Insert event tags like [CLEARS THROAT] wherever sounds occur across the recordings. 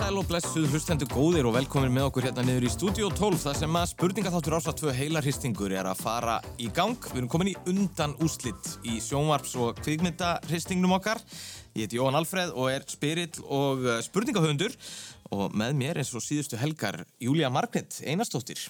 Sæl og blessuð hlustendu góðir og velkomin með okkur hérna niður í Studio 12 þar sem að spurningaþáttur ása tvö heilarhristingur er að fara í gang. Við erum komin í undan úslitt í sjónvarps- og kvikmyndahristingnum okkar. Ég heiti Jóhann Alfreð og er spyrill og eh, spurningahöfundur og með mér eins og síðustu helgar Júlia Margnet Einarstóttir.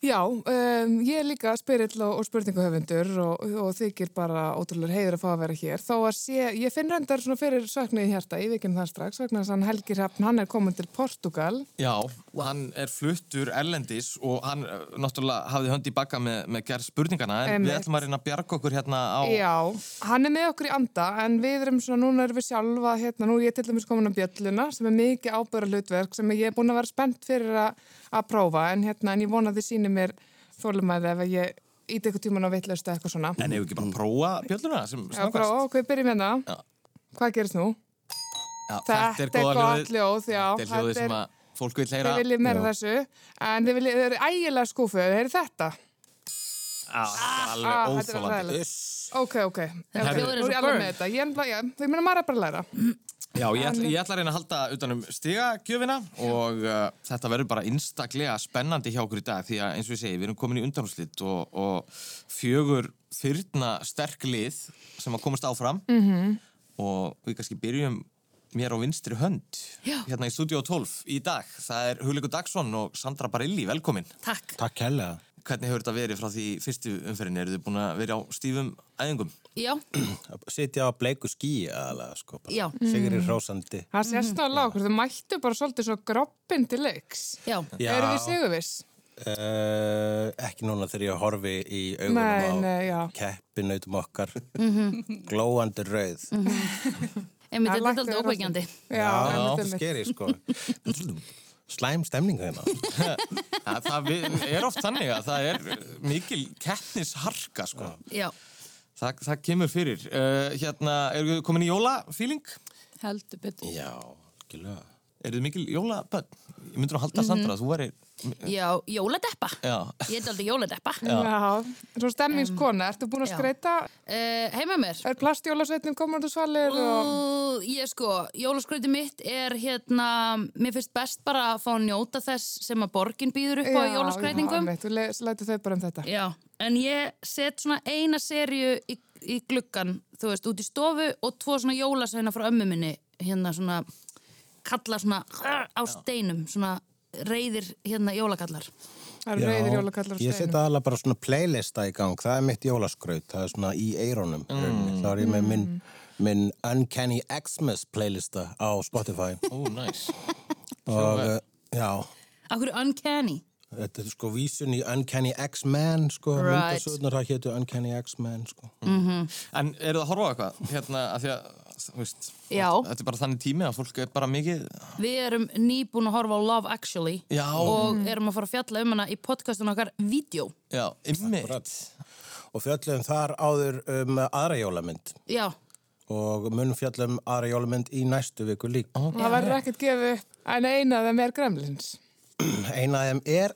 Já, um, ég er líka spyrill og, og spurningahöfundur og, og þykir bara ótrúlega heiður að fá að vera hér. Þó að sé, ég finn reyndar svona fyrir söknuði hjarta, ég vekjum það strax, vegna þess að hann Helgi Hrafn, hann er komin til Portugal. Já, hann er fluttur erlendis og hann eh, náttúrulega hafði hönd í bakka með, með gerð spurningana en við Einmitt. ætlum að reyna að bjarga okkur hérna á... Já, hann er með okkur í anda en við erum svona, núna erum við sjálfa hérna, nú er ég til dæmis komin á bjölluna sem er mikið ábæra hlutverk sem ég er búin að vera spennt fyrir að, að prófa en hérna, en ég vona að þið sýnir mér þólumæði ef að ég ít eitthvað tíman á vittlust eða eitthvað svona. En hefur ekki bara að prófa bjölluna sem Já, snakast? bara, ó, hvað byrjum við hérna? Já. Hvað gerist nú? Já, Þetta er góða gott hljóðið. ljóð, já. Þetta er hljóðið Þetta er- sem að fólk vil heyra. Þeir viljið meira þessu, en þeir viljið, þeir eru ægilega skúfuð, þeir eru þetta. Á, þetta er Ah, alveg þetta er óþólandi. hræðilegt. Ok, ok. Þetta er er alveg burn. með þetta. Ég, er nefnilega- já, ég meina maður er bara að læra. Já, ég ætla, ég ætla að reyna að halda utan um stigagjöfina og uh, þetta verður bara einstaklega spennandi hjá okkur í dag því að eins og ég segi, við erum komin í undanúslitt og, og fjögur fyrna sterk lið sem að komast áfram -hmm. Mhm. og við kannski byrjum mér á vinstri hönd Já. hérna í Studio 12 í dag. Það er Hugleikur Dagsson og Sandra Barilli, velkomin. Takk. Takk helga. Hvernig hefur þetta verið frá því fyrstu umferðin? Eru þið búin að vera á stífum æðingum? Já, Sitja á bleiku skí aðalega sko. bara. Já. Mm. Sigrid Rósandi. Það sést náttúrulega okkur, þau mættu bara svolítið svo groppin til leiks. já. Já. Eru þið sigurviss? Uh, ekki núna þegar ég horfi í Nei, augunum nei, já. á keppinautum okkar. Glóandi rauð. Einmitt, Það þetta er lækkaði alltaf ókvækjandi. Já, Já, einmitt, það einmitt. skeri sko. Slæm stemningu hérna. Ja, það vi- er oft þannig að það er mikil keppnisharka, sko. Já, Þa, það kemur fyrir. Uh, hérna, eru þið komin í jólafíling? heldur betur. Já, gilvega. Eru þið mikil jólabönn? Ég myndi nú að halda Sandra, þú væri... Já, jóladeppa. Já, Ég er aldrei jóladeppa. Já, svo stemmingskona, ertu búin að já. skreita? Uh, heima mér. Er plastjólasveitnin komin út úr svalir? Og... Og ég sko, jólaskröyti mitt er hérna, mér finnst best bara að fá að njóta þess sem að borgin býður upp Já, á Já, jólaskröytingum. einmitt, við le- lætur þau bara um þetta. Já, en ég set svona eina serju í, í gluggan, þú veist, út í stofu og tvo svona jólasveina frá ömmu minni, hérna svona, kalla svona á steinum, svona reyðir hérna jólakallar. Það eru reyðir jólakallar og Ég setja aðalega bara svona playlista í gang. Það er mitt jólaskraut. Það er svona í eirónum. Mm. Þá er ég með minn, minn Uncanny Xmas playlista á Spotify. ó, næs. og uh, já Akkur uncanny. þetta er sko vísun í Uncanny X-Men sko, Right. myndasögnar það hétu Uncanny X-Men sko. En eru þið að horfa á eitthvað? Hérna, að því að, þú veist... Já. Þetta er bara þannig tími að fólk er bara mikið... Við erum nýbúin að horfa á Love Actually Já. og erum að fara að fjalla um hana í podcastun okkar Vídeó. Já, ymmið. og fjallum þar áður um aðra jólamynd Já, og munum fjallum aðra jólamynd í næstu viku lík oh. Það verður ekkert gefið upp, en eina af þeim er gremlins. eina af þeim er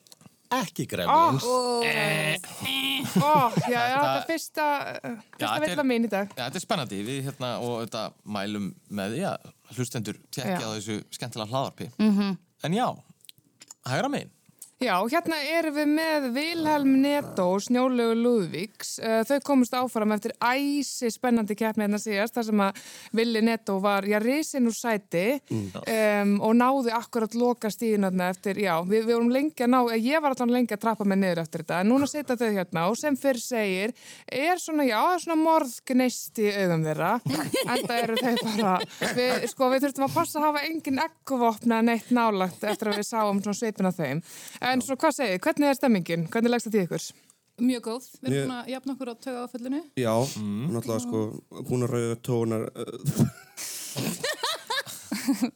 ekki gremlins eh. Ó, já, já, þetta er fyrsta, eh, fyrsta þetta er- villan mín í dag. Já, þetta er spennandi. Við hérna og þetta mælum með því að hlustendur tekja Já. á þessu skemmtilega hlaðarpi. Mm -hmm. En já, hægra megin. Já, hérna erum við með Vilhelm Netó og Snjólegu Lúðvíks. Eh, Þau komust áfram eftir æsi spennandi keppni hérna síðast, þar sem að Vili Netó var, já, risin úr sæti Mm. um, og náði akkurat loka stíðinarna eftir, já, við, við vorum lengi að ná, eh, ég var allan lengi að trappa mig niður eftir þetta, en núna setja þau hérna og sem fyrr segir, er svona, já, það er svona morðgneist í augum [LAUGHS] þeirra, en það eru þau bara, við, sko, við þurftum að passa að hafa engin ekkuvopna neitt nálagt eftir að við sáum svona sveipin af þeim. En svona, hvað segir, hvernig er stemmingin? Hvernig leggst það til ykkur? Mjög góð, við erum Mjög- búin að jafna okkur á töga áföllinu. Já, náttúrulega sko búin að rauða tónar uh,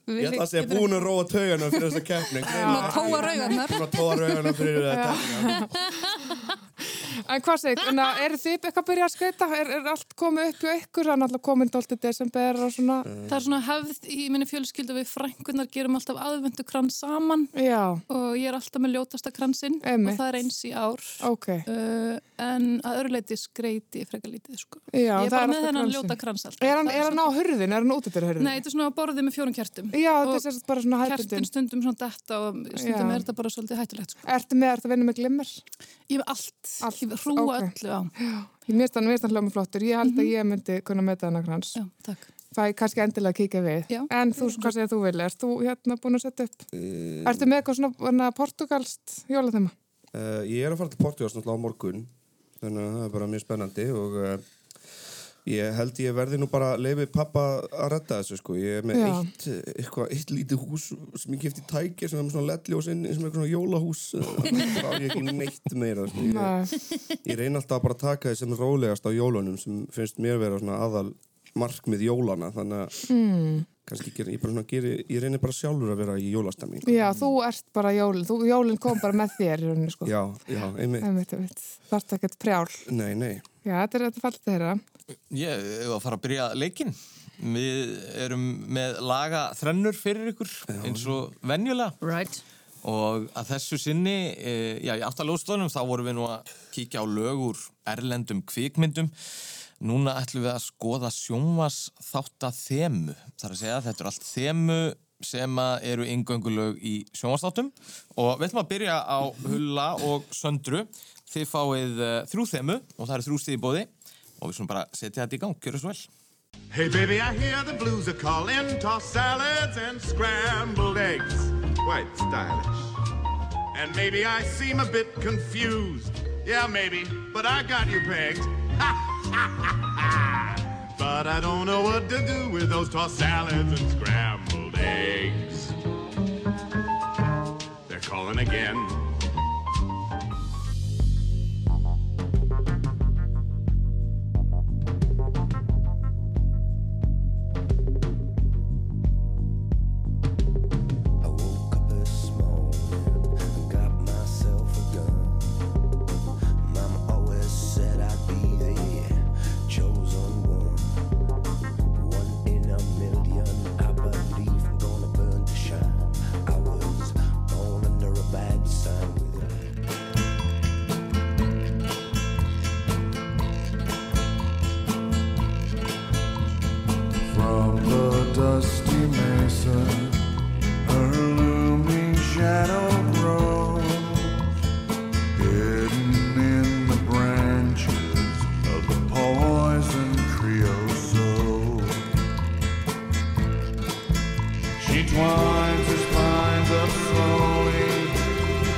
Ég ætla að segja búin að róa taugana fyrir þessa keppni að tóa rauðarnar. Búin að tóa rauðana fyrir þetta En hvað segir, en að eru þið eitthvað að byrja að skauta? Er, er allt komið upp hjá ykkur? Það er náttúrulega komin 12. desember og svona. Það er svona hefð í minni fjölskyldu við frængunar gerum alltaf aðvendu krans saman Já, og ég er alltaf með ljótasta kransinn Einmitt. og það er eins í ár. ok. Uh, en að öruleiti skreiti ég frekar lítið sko. Já, ég er það bara er með alltaf þennan kransinn. ljóta krans alltaf. Er hann, Það er hann á svona- hurðin? Er hann út eftir hurðin? Nei, þetta er svona á borðið með fjórum kertum. Já, þetta er Og sérst bara svona Kertin hættundin. stundum svona detta og stundum Já. er þetta bara svolítið hættulegt sko. Ertu með, ertu að vinna með glimmer? Ég hef allt, Allt, ég hef hrúa ok. öllu á. Ég mist hann, mist hann hljóma flottur. Ég held að ég myndi kunna meta hann að hans. Mhm. Já, takk. Það er kannski endilega að kíkja við. Já. En þú, hvað segir þú vilja? Erst þú hérna búin að setja upp? Ertu með eitthvað svona hana, portugalst jólathema? Uh, ég er að fara til Portugals náttúrulega á morgun þannig að það er bara mjög spennandi og uh, ég held ég verði nú bara að leifi pappa að retta þessu sko. ég er með Já. eitt, eh, eitthvað, eitt lítið hús sem ég kefti tækja sem er með svona lettljós inn sem er svona jólahús uh, þá er ég ekki neitt meira sko. ég, Nei. ég reyna alltaf bara að taka því sem rólegast á jólunum sem finnst mér vera svona aðal markmið jólana þannig að kannski ger, ég, bara svona geri, ég reyni bara sjálfur að vera í jólastemming Já, þú ert bara jólin. Þú, jólin kom bara með þér í rauninu, sko. já, já, einmitt, Einmitt, einmitt. Þarftu ekkert prjál. nei, nei Já, þetta er þetta fallið þeirra. Ég hef að fara að byrja leikinn. Við erum með laga þrennur fyrir ykkur eins og venjulega Right. og að þessu sinni, e, já í áttalóðstofunum þá vorum við nú að kíkja á lög úr erlendum kvikmyndum. Núna ætlum við að skoða sjónvas þátt að þemu. Það er að segja að þetta eru allt þemu sem að eru yngöngulög í sjónvastáttum og við ætlum að byrja á Hulla og Söndru. Þið fáið eh, þrjú þemu og það eru þrjú stíði bóði og við svona bara setja þetta í gang, gjöru svo vel. Hey, baby, I hear the blues are calling. Toss salads and scrambled eggs. Quite stylish. And maybe I seem a bit confused. Yeah, maybe, but I got you pegged. [LAUGHS] but I don't know what to do with those tossed salads and scrambled eggs. They're calling again. I woke up this morning and got myself a gun. Mama always said I'd be the chosen one. One in a million, I believe I'm gonna burn to shine. I was born under a bad sign with a From the dusty mesa, her looming shadow grows, hidden in the branches of the poison creosote. She twines her spines up slowly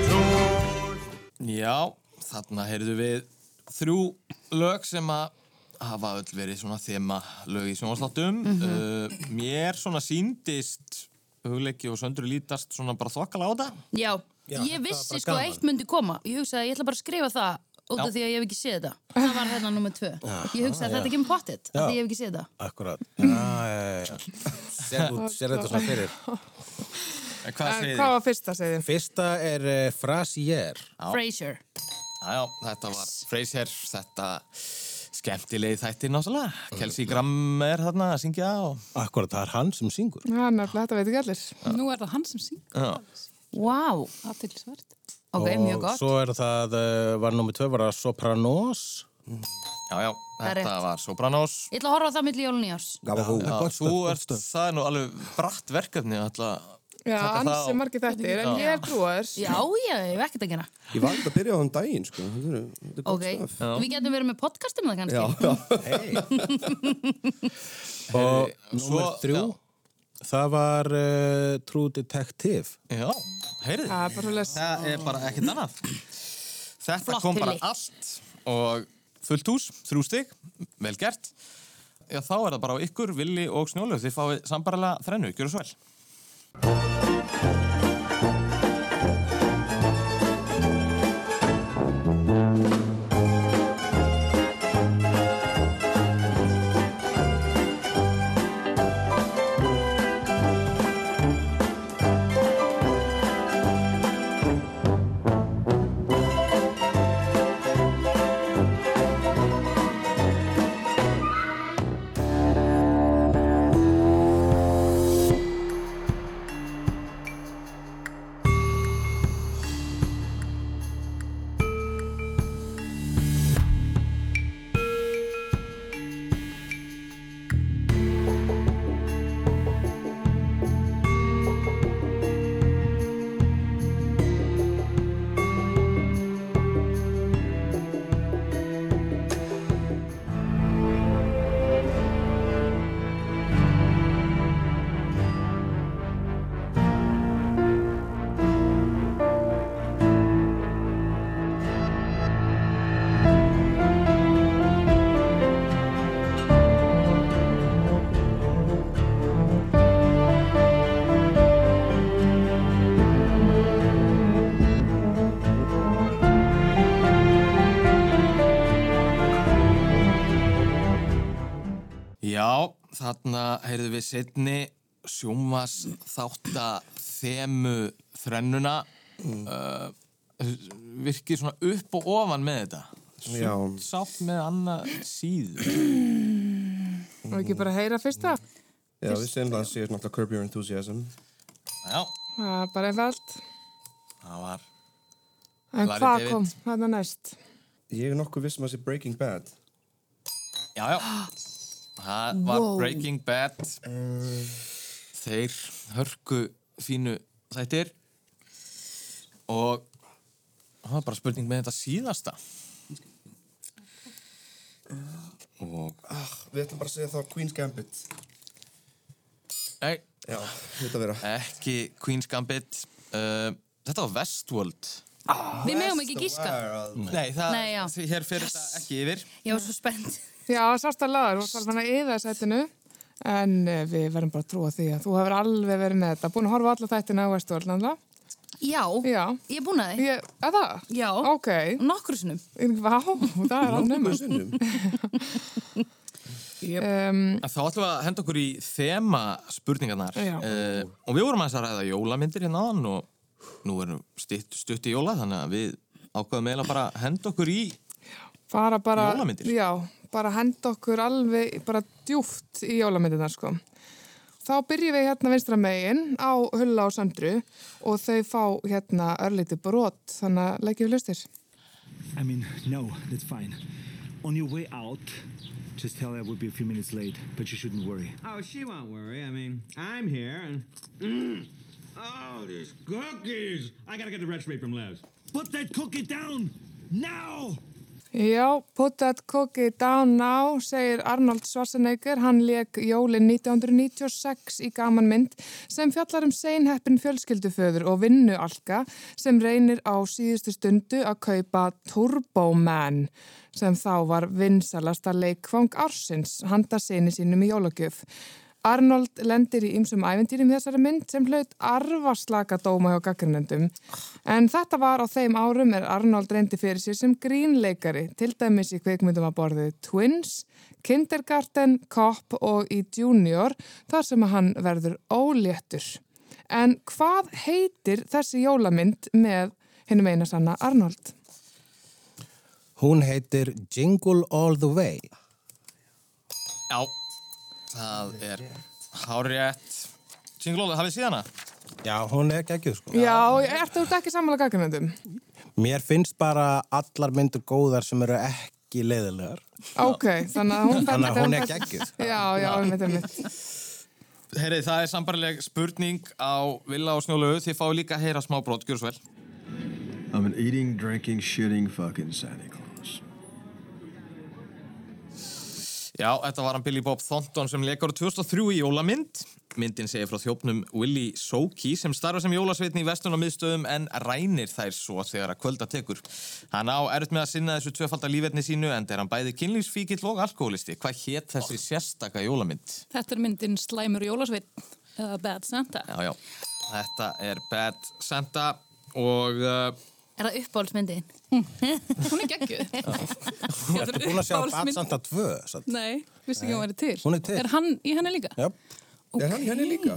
towards Já, þarna heyrðu við þrjú lög sem að hafa öll verið svona þema lög í sjónvarsláttum. uh, mér svona síndist hugleiki og söndur lítast svona bara þokkala á það. Já. Já, ég þetta vissi var bara sko gaman. eitt myndi koma. Ég hugsaði að ég ætla bara að skrifa það Já. út af því að ég hef ekki séð þetta. Það var hérna nummer tvö. Ég hugsaði að þetta kemur pottitt af því að ég hef ekki séð þetta. Akkurat. Já, já, já. Sér, út, sér þetta svona fyrir. En Eh, hvað En segir hvað þið? var fyrsta, segir þið? Fyrsta er uh, frasier. Frasier. Já, já, þetta var Frasier, þetta skemmtilegi þættir náttúrulega. Kelsey Gram er þarna að syngja og... Akkurat, það er hann sem syngur. Já, nefnilega, þetta veit ekki allir. Nú er það hann sem syng, Já. Wow. aðtilsvert. Ok, mjög Og gott. Svo er það, uh, var nummer tvö, var það Sopranos. Já, já, Það þetta er rétt. var Sopranos. Ég ætla að horfa á það milli jólun í árs. Gafahú. Já, þú ert, það er nú alveg bratt verkefni að ætla að Já, taka það ansi á- margir þettir, en ég er trúar. Já, já, ég hef ekkert að gera. Ég var ekkert að byrja á þann daginn, sko. Þetta er, þetta er Ok, gott stöf. við getum verið með podcast um það kannski. Já, já. Og svo- nummer þrjú, það var uh, True Detective. Já, heyrið. Það er bara svoleiðis. Það er bara ekkert annað. Þetta Flott kom bara tillit. allt og fullt hús, þrjú stygg, vel gert. Já, þá er það bara á ykkur, villi og snjólaug. Þið fáið sambarlega þrennu, gjöru svo vel. Frá þarna heyrðu við setni sjómas þátta þemu þrennuna Mm. uh, virkir svona upp og ofan með þetta Já. Sumt sátt með annað síðu og ekki bara heyra fyrsta Já, við segjum það að sé náttúrulega Curb Your Enthusiasm. Já, það er bara einfalt það var en Larry hvað David. kom þarna næst Ég er nokkuð vissum að sé Breaking Bad. Já, já Það var Breaking Bad Þeir hörku fínu þættir og það var bara spurning með þetta síðasta og Ah, Við ætlum bara að segja þá Queen's Gambit. nei, Já, þetta vera. ekki Queen's Gambit uh, Þetta var Westworld Við megum ekki gíska. Nei, það, Nei, já. því hér fer þetta ekki yfir Ég var svo spennt. já, sást að laður og þannig að yða sætinu en eh, við verðum bara að trúa því að þú hefur alveg verið með þetta búin að horfa á alla þættina á Vesturvöld náttúrulega Já, já, ég er búin að því. ég, að það Já, ok, nokkru sinnum. vá, [LAUGHS] það er alveg nema Sunnum. um, Þá ætlum við að henda okkur í þema spurningarnar Já. uh, og við vorum aðeins að ræða jólamyndir hérna áðan og nú erum stutt, stutt í jóla þannig að við ákvaðum eiginlega bara að henda okkur í fara bara Jólamyndir? já, bara henda okkur alveg bara djúft í jólamyndina sko. þá byrjum við hérna vinstra megin á Hulla og Söndru og þau fá hérna örlíti brot þannig að leggjum við lustir I mean, no, that's fine. On your way out, just tell her we'll be a few minutes late, but you shouldn't worry. Oh, she won't worry. I mean, I'm here and. Mm. Oh, these cookies! I gotta get the recipe from Lev's. Put that cookie down! Now! Já, put that cookie down now, segir Arnold Schwarzenegger. Hann leik jólin 1996 í gaman mynd sem fjallar um seinheppin fjölskylduföður og vinnualka sem reynir á síðustu stundu að kaupa Turboman sem þá var vinsalasta leikvang ársins handa sinni sínum í jólagjöf. Arnold lendir í ymsum æventýrum í þessari mynd sem hlaut arfaslaka dóma hjá gaggrinendum. En þetta var á þeim árum er Arnold reyndi fyrir sér sem grínleikari, til dæmis í kveikmyndum að borðu Twins, Kindergarten, Cop og í Junior, þar sem hann verður óléttur. En hvað heitir þessi jólamynd með hinnum eina sanna Arnold? Hún heitir Jingle All The Way. Já, það er hárétt Tjinglóla, hafið síðana? Já, hún er geggjuð sko. Já, ertu út ekki sammála gaggrinendum? Mér finnst bara allar myndir góðar sem eru ekki leiðilegar. Ok, þannig að hún, Þannig að hún er fær- geggjuð. Já, já, einmitt, einmitt. Heyrið, það er sambarleg spurning á Villa og Snjólaug þið fáið líka að heyra smá brot, gjör svo vel I'm an eating, drinking, shitting, fucking Santa Claus. Já, þetta var hann Billy Bob Thornton sem leikar á 2003 í jólamynd. Myndin segir frá þjófnum Willy Soki sem starfa sem jólasveitn í vestun og miðstöðum en rænir þær svo þegar að kvölda tekur. Hann á erut með að sinna þessu tvöfaldar lífetni sínu en er hann bæði kynlífsfíkill og alkoholisti. Hvað hétt þessi sérstaka jólamynd? Þetta er myndin Slæmur Jólasveit eða Bad Santa. Já, já, þetta er Bad Santa og uh, Er það uppáhaldsmyndin? Hún er geggjuð. Þetta Ertu búin að sjá Bad Santa 2? Satt? Nei, vissi ekki að hún væri til. Hún er til. Er hann í henni líka? Já, Er hann í henni Mm-hmm. líka?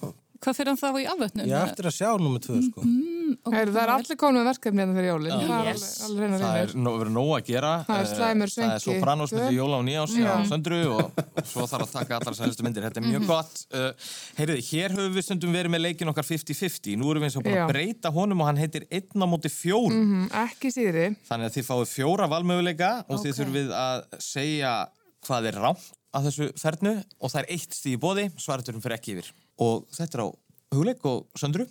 já, Hvað fyrir hann þá í afvötnum? ég á eftir að sjá nummer 2 sko. Mm-hmm. Heyrðu, það er allir komin með verkefni hérna fyrir jólinn. Það er yes. alveg- alveg reyna það reynir. er nó- verið nóg að gera. Það er Eh, slæmur Það er svenki. Sopranos myndi Tvö. jóla og nýjás á söndru og svo þarf að taka allar sælustu myndir. Þetta er Mhm. mjög gott. Uh, heyriði, hér höfum við stundum verið með leikin okkar 50-50. Nú erum við eins og búin Já. Mm. að breyta honum og hann heitir 1 á móti 4. Mhm, Ekki síðri. Þannig að þið fáið fjóra valmöfuleika og þið þurfið að segja hvað er rámt að þessu fernu og það er eitt stíð í bóði, svareturum fyrir ekki yfir. Og þetta er á hugleik og söndru.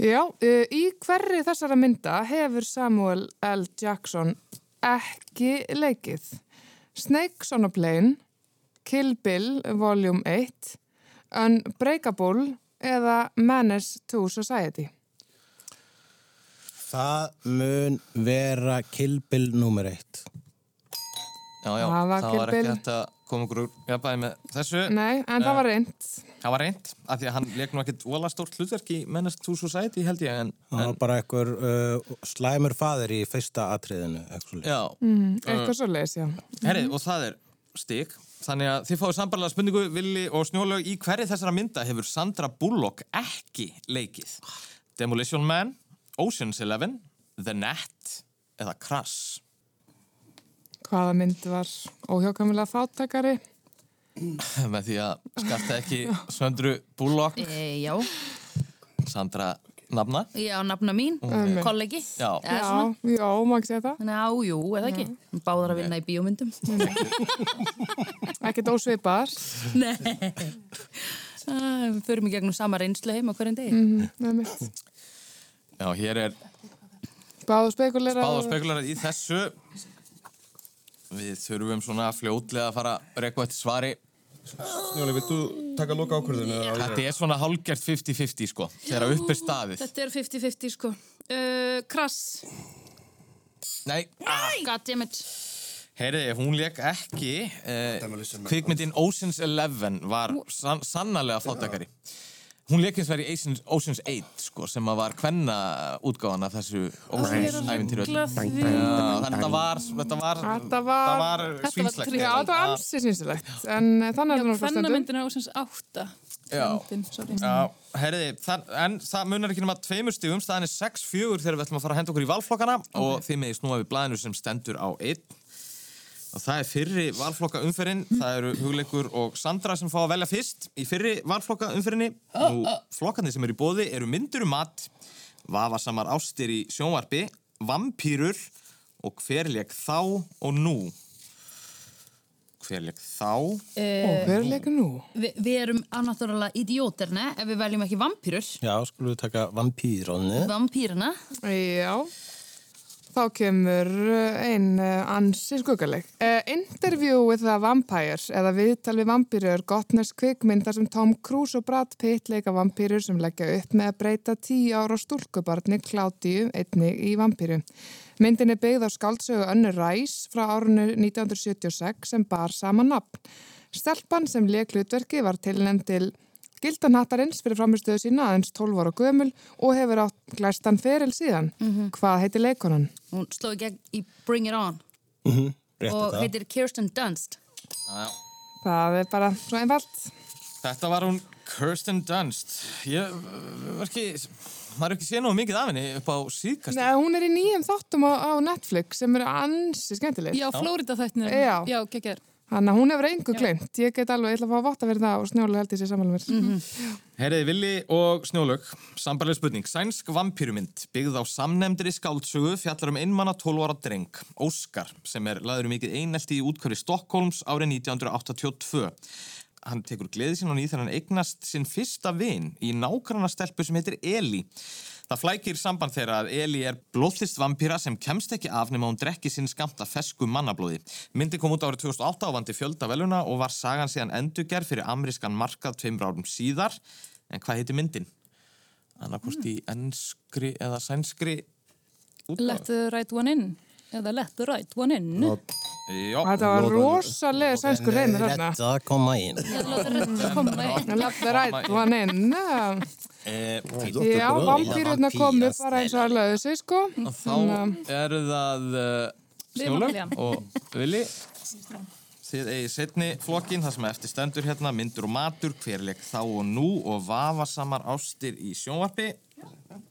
Já, uh, í hverri þessara mynda hefur Samuel L. Jackson ekki leikið? Snakes on a Plane, Kill Bill Volume 1, Unbreakable eða Menace to Society? Það mun vera kilbil nummer 1. Já, já, Það það var var ekki Kill Bill. hægt að koma okkur úr jafnvægi með þessu. Nei, en Eh. það var reynd. Það var reynd, af því að hann leik nú ekkert vola stórt hlutverk í Menace to Society held ég, en Það var bara einhver uh, slæmur faðir í fyrsta atriðinu. já, Mm, Mhm, Eh. Eitthvað svo leis, já. herrið, og það er stig þannig að þið fáið sambarlega spurningu Villi og Snjólaug í hverju þessara mynda hefur Sandra Bullock ekki leikið Demolition Man, Ocean's Eleven The Net eða Crash Hvaða mynd var óhjákamilega fáttakari? með því að skarta [LAUGHS] ekki Söndru Bullock Eh. E, já, Sandra nafna já, nafna mín, Hún er- kollegi Já. Eða Já, svona. já, maður ekki segja það Já, jú, eða ekki Báðar að vinna í bíómyndum [LAUGHS] Ekkert ósvipar Nei Æ, Við förum í gegnum sama reynslu heim á hverjum degi mm -hmm. Já, hér er Báðu spekuleira báða spekulara í þessu Við þurfum svona fljótlega að fara að rekka eftir svari Snjóli, vilt þú taka loka ákvörðinu? Þetta er svona hálgert 50-50 sko Þegar upp er staðið Þetta er 50-50 sko. Uh, krass. Nei, Nei! Goddammit. Heyriði, hún leik ekki uh, Kvikmyndin Ocean's Eleven var san sannarlega fátakari Hún leik hins vegar í Ocean's, Ocean's 8 sko, sem að var hvenna útgáfan af þessu Ocean's ég er að ævintýru negla öllu. því. Já, Þetta var þetta var, Þetta var, það var svinslegt Já, þetta var ansi svinslegt. En eh, þannig er það nú frá Hvenna stundum. myndin er ásins átta. Já. Myndin, sorry. Já, herriði, það, en það munar ekki nema tveimur stigum, staðan er 6-4 þegar við ætlum að fara að henda okkur í valflokkana og þið meði snúa við blæðinu sem stendur á 1 og það er fyrri valflokka umferinn, það eru Hugleikur og Sandra sem fá að velja fyrst í fyrri valflokka umferinni nú flokkandi sem eru í bóði eru myndur um mat vafasamar ástir í sjónvarpi vampýrur og hverleik þá og nú hverleik þá Og hver leikur nú? Vi, Við erum annáttúrulega idióter, ne? Ef við veljum ekki vampýrur Já, skulum við taka vampýrónu. Vampýrana Já. Þá kemur eh, ein eh, ansi skuggaleg. Uh, interview with a Vampire eða viðtal við vampýrur gottnesk kvikmynd þar sem Tom Cruise og Brad Pitt leika vampýrur sem leggja upp með að breyta tíu ára stúlkubarni Kládíu einni í vampýru. Myndin er byggð á skáldsögu Önnu Ræs frá árunni 1976 sem bar sama nafn. Stelpan sem leik hlutverki var tilnefnd til Gildan hattarins fyrir framistöðu sína aðeins 12 ára gömul og hefur átt glæstan feril síðan. Hvað heitir leikonan? Hún sló í gegn í Bring It On Mhm, Rétt og þetta. heitir Kirsten Dunst Já. Það er bara svo einfalt. Þetta var hún Kirsten Dunst. Ég uh, var ekki, maður er ekki séð nú mikið af henni upp á síðkast. Nei, hún er í nýjum þáttum á, á Netflix sem eru ansi skemmtileg. Já, Flórida þættinir. Já. Já, geggjær. Þannig að hún hefur engu glemt. Ég get alveg, ég ætla að fá að votta fyrir það og snjóla held í sér samanlega mér. Herriði Villi og Snjólaug, sambarleg spurning. Sænsk vampýrumynd byggð á samnemndri skáldsögu fjallar um einmanna 12 ára dreng, Óskar, sem er laður um mikið einelti í útkværi Stokkólms árið 1982. Hann tekur gleði sín og nýð þegar hann eignast sinn fyrsta vin í nákvæmna stelpu sem heitir Eli. Það flækir samband þeirra að Eli er blóðlist vampýra sem kemst ekki af nema hún drekki sinn skamta fesku mannablóði. Myndi kom út árið 2008 á vandi fjölda veluna og var sagan síðan endurgerð fyrir amrískan markað tveimur árum síðar. En hvað heitir myndin? Annarkost í ennskri eða sænskri Let the right one in. Eða let the right one in. Já, Þetta var rosalega sænsku reynir þarna. Þetta koma inn. Love the right one in. Já, vampýrurna komu bara eins og að löðu sig, sko. Þannig Þá eru það uh, Við Snjólaug William. og Vili. Þið eigið setni flokkin, það sem eftir stendur hérna, myndur og matur, hverleik þá og nú og vafasamar ástir í sjónvarpi.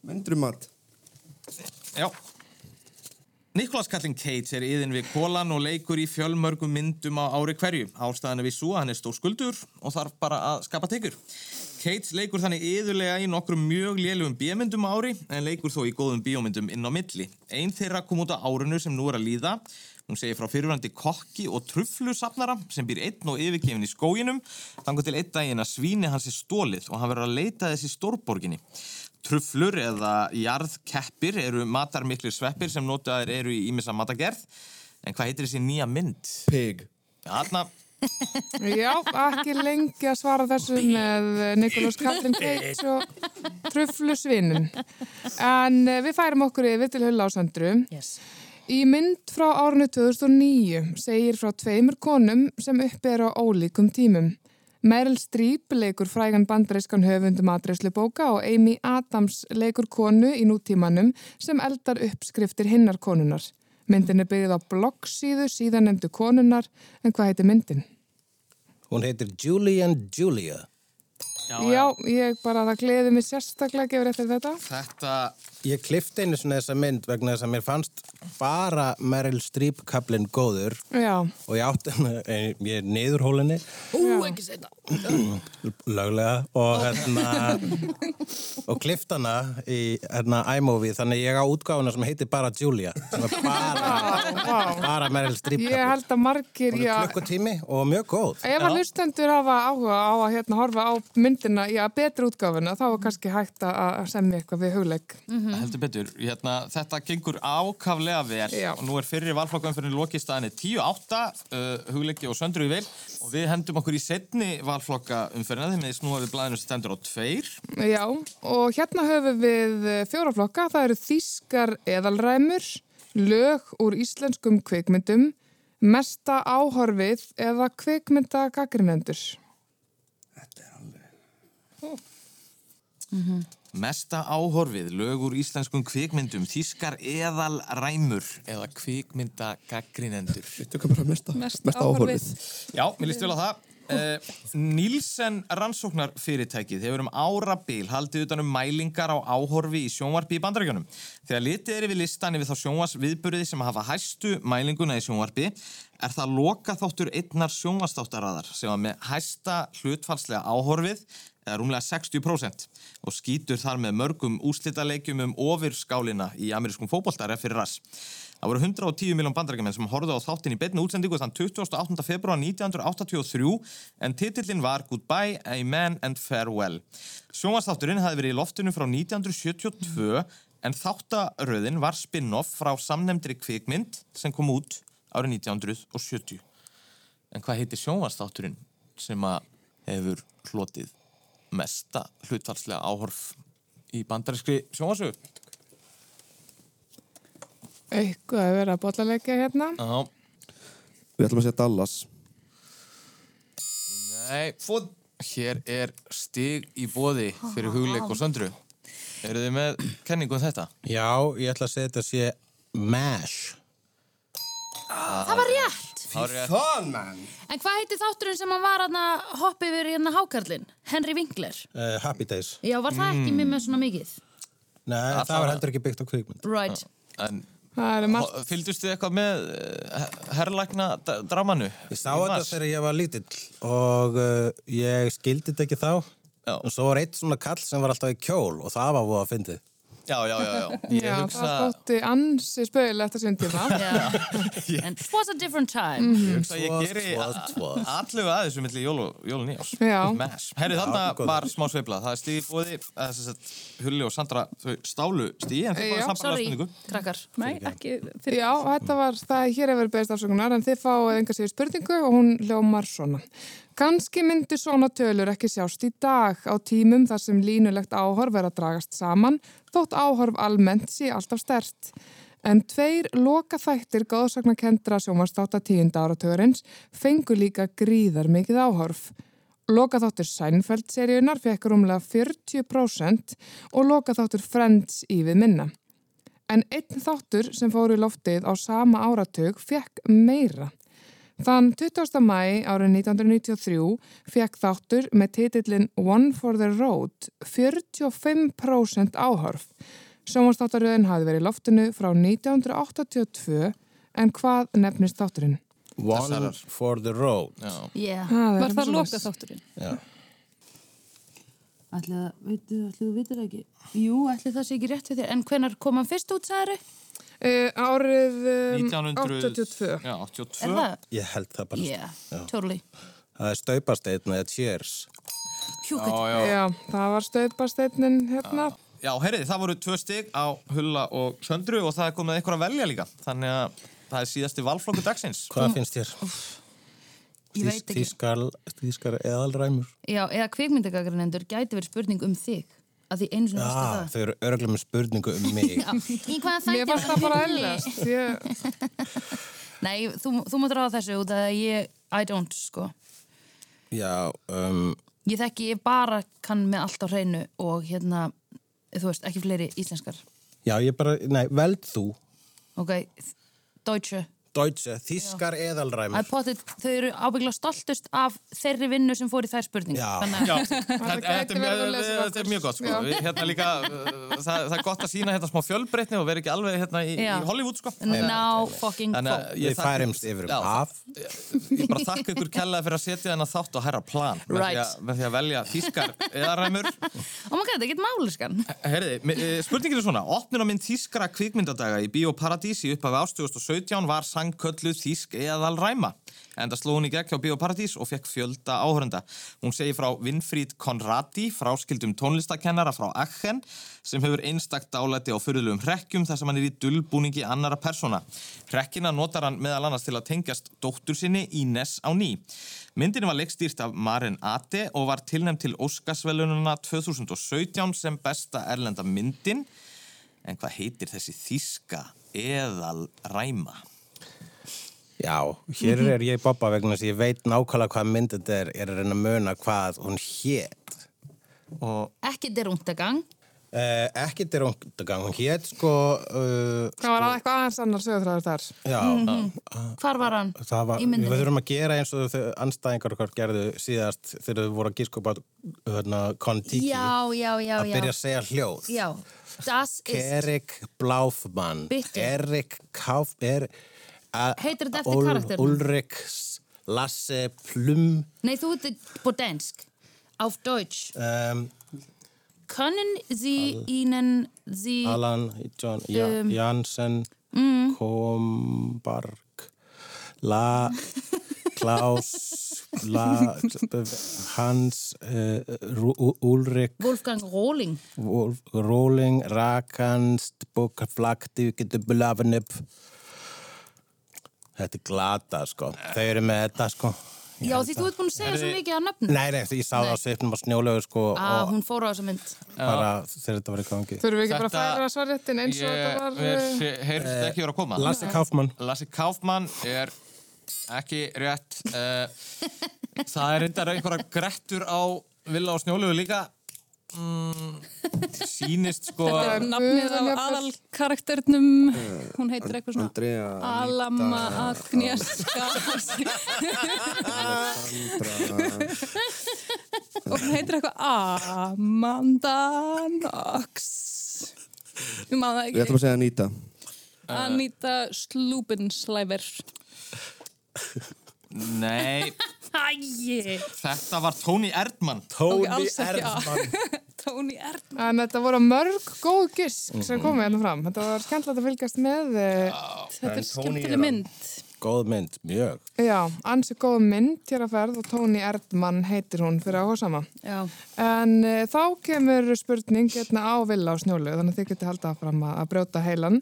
Myndur um mat. Já. Nicholas Kallin Cates er yðin við kólan og leikur í fjölmörgum myndum á ári hverju. Ástæðan er við svo að hann er stór skuldur og þarf bara að skapa tekur. Cates leikur þannig yðurlega í nokkrum mjög lélugum bíómyndum á ári en leikur þó í góðum bíómyndum inn á milli. Einn þeirra kom út á árinu sem nú er að líða. Hún segir frá fyrirvændi kokki og trufflusafnara sem býr einn og yfirgefin í skóginum þangur til einn daginn að svíni hans er stólið og hann verður að leita þessi stórborginni. Trufflur eða jarðkeppir eru matarmiklir sveppir sem notaðir eru í ímessa matagerð. En hvað heitir þessi nýja mynd? Pig. Þarna, að, já, ekki lengi að svara þessu með eh, Nikolás Kallin Keits og Trufflusvinin. En eh, við færum okkur yfir til Hulla á Söndru. Yes. Í mynd frá árinu 2009 segir frá tveimur konum sem uppi eru á ólíkum tímum. Meryl Streep leikur frægan bandarískan höfundum aðdreyslu bóka og Amy Adams leikur konu í nútímanum sem eldar uppskriftir hinnar konunar. Myndin er byggð á bloggsíðu, síðan nefndu konunar, en hvað heitir myndin? Hún heitir Julian Julia. Já, ég bara, það gleði mig sérstaklega gefur eftir þetta. Þetta... Ég klifti einu svona þessa mynd vegna þess að mér fannst bara Meryl Streep-kablin góður Já. og ég átti hana, eh, ég er niður hólinni, Ú, ekki segna. [CLEARS THROAT] löglega, og hérna, og klift hana í hérna iMovie, þannig ég á útgáfuna sem heitir bara Julia, sem er bara, bara Meryl Ég Streep-kablin. held að margir, Hún já, er klukkutími og mjög góð. ef að hlustendur hafa áhuga á að hérna horfa á myndina í að betri útgáfuna, þá er kannski hægt að- að semja eitthvað við hugleik. Heldur betur, hérna, þetta gengur ákaflega vel Já. og nú er fyrir valflokkaumferðin lokið staðinni 10-8, uh, hugleiki og söndru í vel og við hendum okkur í setni valflokkaumferðina þegar við snúum við blæðinu sem stendur á tveir Já, og hérna höfum við eh, fjóra flokka. Það eru þýskar eðalræmur, lög úr íslenskum kvikmyndum, mesta áhorfið eða kvikmyndagagrinendur. Mesta áhorfið, lög úr íslenskum kvikmyndum, þýskar eðal ræmur eða kvikmynda gaggrinendur. Þetta er bara mesta, Mest mesta áhorfið. Já, mér líst vel á það. Uh, Nílsen rannsóknarfyrirtækið hefur um árabil haldið utan um mælingar á áhorfi í sjónvarpi í bandarækjunum. Þegar litið er yfir listan yfir þá sjónvarsviðburði sem hafa hæstu mælinguna í sjónvarpi er það loka þáttur einnar sjónvarstáttaraðar sem var með hæsta hlutfalslega áhorfið eða rúmlega 60% og skýtur þar með mörgum úslitaleikjum um ofirskálina í amerískum fótboltar ef fyrir rass. Það voru 110 miljón bandarækjumenn sem horfðu á þáttin í beinni útsendingu þann 28. februar 1983 en titillin var Goodbye, Amen and Farewell. Sjónvastátturinn hafði verið í loftinu frá 1972 en þáttaröðin var spin-off frá samnefndri kvikmynd sem kom út árið 1970. En hvað heitir sjónvastátturinn sem að hefur hlotið mesta hlutfalslega áhorf í bandarinskri sjónvasögu? Eitthvað að vera að bollaleika hérna. Já. Við ætlum að segja Dallas. Nei, fóð. Hér er stig í bóði fyrir hugleik og söndru. Eru þið með kenningu um þetta? Já, ég ætla að segja þetta sé MASH. Það var rétt. Þann, mann! En hvað heitir þátturinn sem hann var að hoppa yfir hérna hákarlinn? Henry Winkler. Uh, Happy Days. Já, var það ekki mér með svona mikið? Nei, það, var heldur ekki byggt á kvikmynd. Right. En Það er margt. Fylgdust þið eitthvað með eh, herrlækna d- dramanu? Ég Sá þetta þegar ég var lítill og uh, ég skildi þetta ekki þá. Já. Og svo var eitt svona kall sem var alltaf í kjól og það var voða að fyndið. Já, já, já, já. Ég Já, hugsa, það þótti ansi spöðilegt að sjöndja það. And it was a different time. ég Mhm. hugsa að ég geri [LAUGHS] allu að þessu um milli jól og jól og nýjás. Já. Mass. Herri, Já, góð. þarna var smá sveifla. Það er stig í bóði, eh, sem sagt, Hulli og Sandra, þau stálu stigi, en þau Já. fóðu sambarlega Sorry. spurningu. Krakkar. Nei, ekki. Já, þetta var það hér hefur beðist afsökunar en þið fáið enga sér spurningu og hún ljómar svona. Kanski myndu svona tölur ekki sjást í dag á tímum þar sem línulegt áhorf er að dragast saman, þótt áhorf almennt sé alltaf stert. En tveir loka þættir góðsagnakendra sjómarstáta tíunda áratöðurins fengu líka gríðar mikið áhorf. Lokaþáttur Sænfeld-seríunar fekk rúmlega 40% og lokaþáttur Friends í við minna. En einn þáttur sem fór í loftið á sama áratug fekk meira. Þann 20. mæ árið 1993 fekk þáttur með titillin One for the Road 45% áhorf. Sjónvastáttaröðin hafði verið í loftinu frá 1982 en hvað nefnist þátturinn? One for the road. Já. Yeah. Ha, það er Var það eitthvað loka svoleiðis. þátturinn? Já. Ætli það, veitu, ætli þú vitur ekki? Jú, ætli það sé ekki rétt við þér. En hvenar kom hann fyrst út, sagður? Uh, árið um, 1982. Já, 82. Er það? Ég held það bara. Yeah, Já. totally. Það er staupast einn eða cheers. Hjúkvæmt. Já, já. það var stöðbasteinnin hérna. Já, herriði, það voru tvö stig á Hulla og Söndru og það er komið eitthvað að velja líka. Þannig að það er síðasti valflokku [LAUGHS] dagsins. Hvað finnst þér? Ég veit ekki. Þískar, þískar eðalræmur. Já, eða kvikmyndagagrinendur gæti verið spurning um þig. Að því einu Já, sinni varstu Ah, þau eru örglega með spurningu um mig. það. Já. Í hvaða þætti? Mér fannst var það bara Hulli? ellast. Ég, Nei, þú, þú mátt ráða þessu út að ég, I don't, sko. Já, um, Ég þekki, ég bara kann með allt á hreinu og hérna, þú veist, ekki fleiri íslenskar. já, ég bara, nei, veld þú. Ok, Deutsche Deutsche, þýskar eðalræmur Það er potið, þau eru ábyggla stoltust af þeirri vinnu sem fór í þær spurningar Já. Já, [LAUGHS] Þetta þetta þetta er mjög- þetta er mjög gott sko. um Já. Við, hérna [LAUGHS] líka, uh, það, það er gott að sína hérna smá fjölbreytni og vera ekki alveg hérna í, í Já. Hollywood sko. Ná fucking fó Við færumst yfir um af Ég bara þakka ykkur kærlega fyrir að setja þennan þátt á herra plan með, Right. því að, með því að velja þýskar eða ræmur Oh my god, þetta er ekkert máliskan Herði, eh, spurningin er svona Opnun á minn þýskra kvikmyndadaga í Bíóparadís í upphafi árs 2017 var sangkölluð þýsk eðal ræma en það sló hún í gegn hjá Bíóparadís og fekk fjölda áhörenda. Hún segir frá Winfried Conradi, fráskildum tónlistakennara frá Achen, sem hefur einstakt álæti á fyrirlugum hrekkjum þar sem hann er í dullbúningi annara persóna. Hrekkina notar hann meðal annars til að tengjast dóttur sinni Ines á ný. Myndin var leikstýrt af Maren Ate og var tilnæmt til Óskarsvelununa 2017 sem besta erlenda myndin. En hvað heitir þessi þýska eðal ræma? Já, hér Mhm. er ég bobba vegna þess að ég veit nákvæmlega hvað mynd þetta er ég er að reyna að muna hvað hún hét og Ekki derúntagang uh, ekki til rundagang, hún hét sko uh, Það var eitthvað aðeins annar sögurþræður þar. já, Hvar var hann? það var, Mhm. Í myndinni? við þurfum að gera eins og þau anstæðingar okkar gerðu síðast þegar þau voru að gískopa hérna, Kon-Tiki Já, já, já, að já byrja að segja hljóð Já, das ist Erik Blaufmann Bitte. Erik Kauf er, a, Heitir þetta eftir karakternum? Ulrik S- Lasse Plum Nei, þú heitir på dansk Auf Deutsch um, Können Sie Ihnen Sie Alan John, ja, Um, Jansen Mm. Kombark La Klaus La Hans uh, Ru- U- Ulrik Wolfgang Rohling Wolf, Rolling, Rakanst, Bokaflakti, getur blafin upp. Þetta er glata, sko. Þau eru með þetta, sko. Já, því þú ert búin að segja svo mikið að nöfnum Nei, nei, ég sá það á svipnum á snjólegu, sko, Að og hún fór á þessa mynd bara þegar þetta var í gangi. Þurfum við ekki bara Þetta- að færa svarréttin eins og þetta var... uh, Ég heyrst ekki vera að koma. Lasse Kaufmann. Lasse Kaufmann er ekki rétt. Uh, [LAUGHS] það er reyndar einhverja grettur á Villa og Snjólugu líka. Mm, sýnist sko... Þetta er nafnið á aðal karakternum Hún heitir eitthvað svona Andrea Alama Agnieszka Og hún heitir eitthvað Amanda Knox Ég maður það Við ekki ætlum að segja Anita Anita Slúbenslæver [LAUGHS] Nei, Æi þetta var Tony Erdmann. Ok, ah. alls ekki A. [LAUGHS] Tony Erdmann eh, En þetta voru mörg góð gisk sem komið hérna fram. Þetta var skemmtilegt að fylgjast með. eh, Þetta er skemmtileg mynd Góð mynd, mjög. Já, ansi góð mynd hér að ferð og Tóni Erdmann heitir hún fyrir að hósama. Já En e, þá kemur spurning hérna á Villa á snjólu, þannig að þið getið haldið áfram að, að brjóta heilan.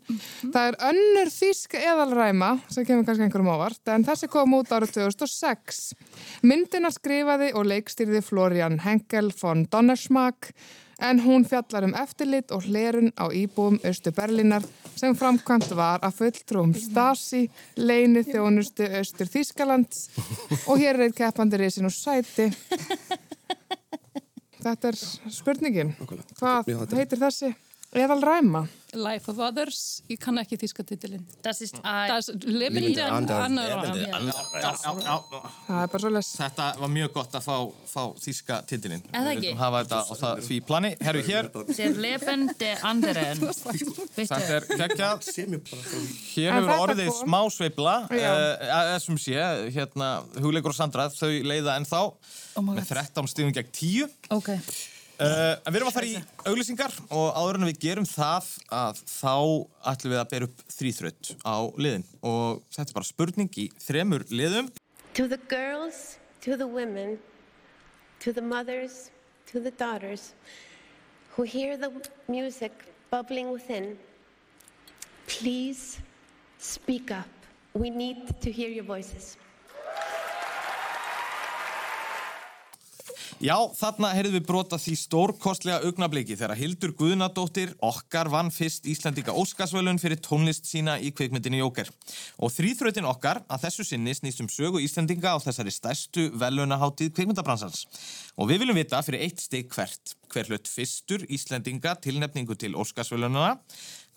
Það er önnur þýsk eðalræma, sem kemur kannski einhverjum ávart, en þessi kom út árið 2006. Myndina skrifaði og leikstýrði Florian Henkel von Donnersmack, en hún fjallar um eftirlit og hlerun á íbúum Östu Berlínar sem framkvæmt var að fulltrúum Stasi, leini þjónustu Östur Þýskalands og hér er eitt keppandi risin og sæti Þetta er spurningin. Hvað Já, þetta er- heitir þessi? Eðal ræma. Life of Others Ég kann ekki þíska titilin Das ist ein Das Lebende Anna Það er bara svo les. Þetta var mjög gott að fá, fá þýska titilinn. Er það Við ekki? vildum hafa þetta á það því plani. Herru, hér, Der Leben der [LAUGHS] anderen Þetta þetta er geggjað. Hér En hefur þetta orðið kom. smá sveibla Já. uh, sem sé, hérna hugleikur og Sandra, þau leiða ennþá Oh my með god 13 stíðum gegn 10 Ok Uh, en við erum að fara í auglýsingar og áður en við gerum það að þá ætlum við að bera upp þrýþraut á liðin og þetta er bara spurning í þremur liðum To the girls, to the women, to the mothers, to the daughters who hear the music bubbling within, please speak up. We need to hear your voices. Já, þarna heyrðum við brota því stórkostlega augnabliki þegar Hildur Guðnadóttir okkar vann fyrst Íslandika Óskarsvölun fyrir tónlist sína í kvikmyndinni Jóker. Og þrýþrautin okkar að þessu sinni snýst um sögu Íslandinga á þessari stærstu velunaháttíð kvikmyndabransans. Og við viljum vita fyrir eitt stig hvert. Hver hlut fyrstur Íslandinga tilnefningu til Óskarsvölununa?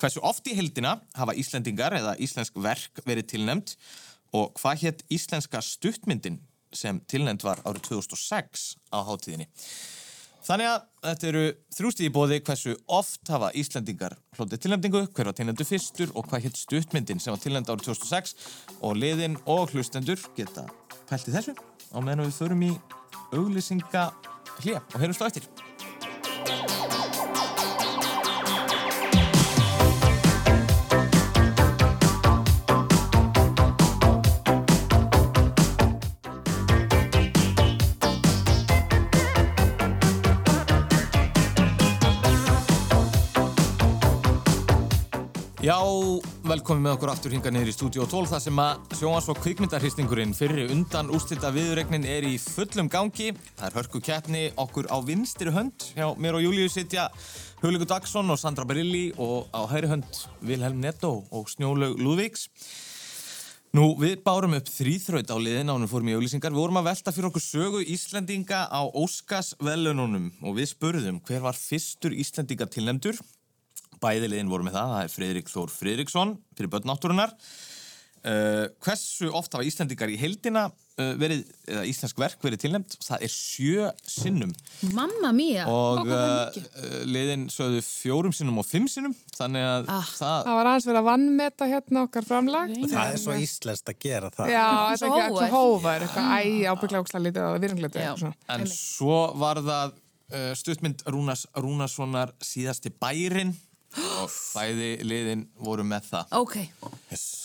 Hversu oft í heldina hafa Íslandingar eða íslensk verk verið tilnefnd? Og hvað hétt íslenska stuttmyndin sem tilnend var árið 2006 á hátíðinni. Þannig að þetta eru þrjústi í bóði hversu oft hafa Íslandingar hlotið tilnefningu, hver var tilnefndu fyrstur og hvað hétt stuttmyndin sem var tilnefnd árið 2006 og liðin og hlustendur geta pælt í þessu á meðan við förum í auglýsinga hlýja og heyrjum slá eftir. Já, velkomin með okkur aftur hingað niður í Stúdíó 12 þar sem að sjónvars og kvikmyndarhristingurinn fyrir undan úrslita viðregnin er í fullum gangi. Það er hörku keppni okkur á vinstri hönd. Já, mér og Júliu sitja Hugleiku Dagsson og Sandra Barilli og á hæri hönd Vilhelm Netto og Snjólaug Lúðvíks. Nú, við bárum upp þrýþraut á liðin ánum fórum í auglýsingar. Við vorum að velta fyrir okkur sögu Íslendinga á Óskarsvelununum og við spurðum hver var fyrstur Íslendinga tilnefndur Bæði liðin voru með það, það er Friðrik Þór Friðriksson fyrir börnátturunar. Uh, hversu oft hafa Íslendingar í heildina uh, verið, eða íslensk verk verið tilnefnd? Það er sjö sinnum Mamma mía og uh, uh, liðin sögðu fjórum sinnum og fimm sinnum, þannig að það, Það var aðeins verið að vannmeta hérna okkar framlag. Það er svo íslenskt að gera það. Já, þetta er ekki ekki hóvar, eitthvað æ, ábyggla óksla lítið og virðinglítið. eitthvað svona. en svo var það uh, stuttmynd Rúnas Rúnasonar síðasti bærin og bæði liðin voru með það. Ok,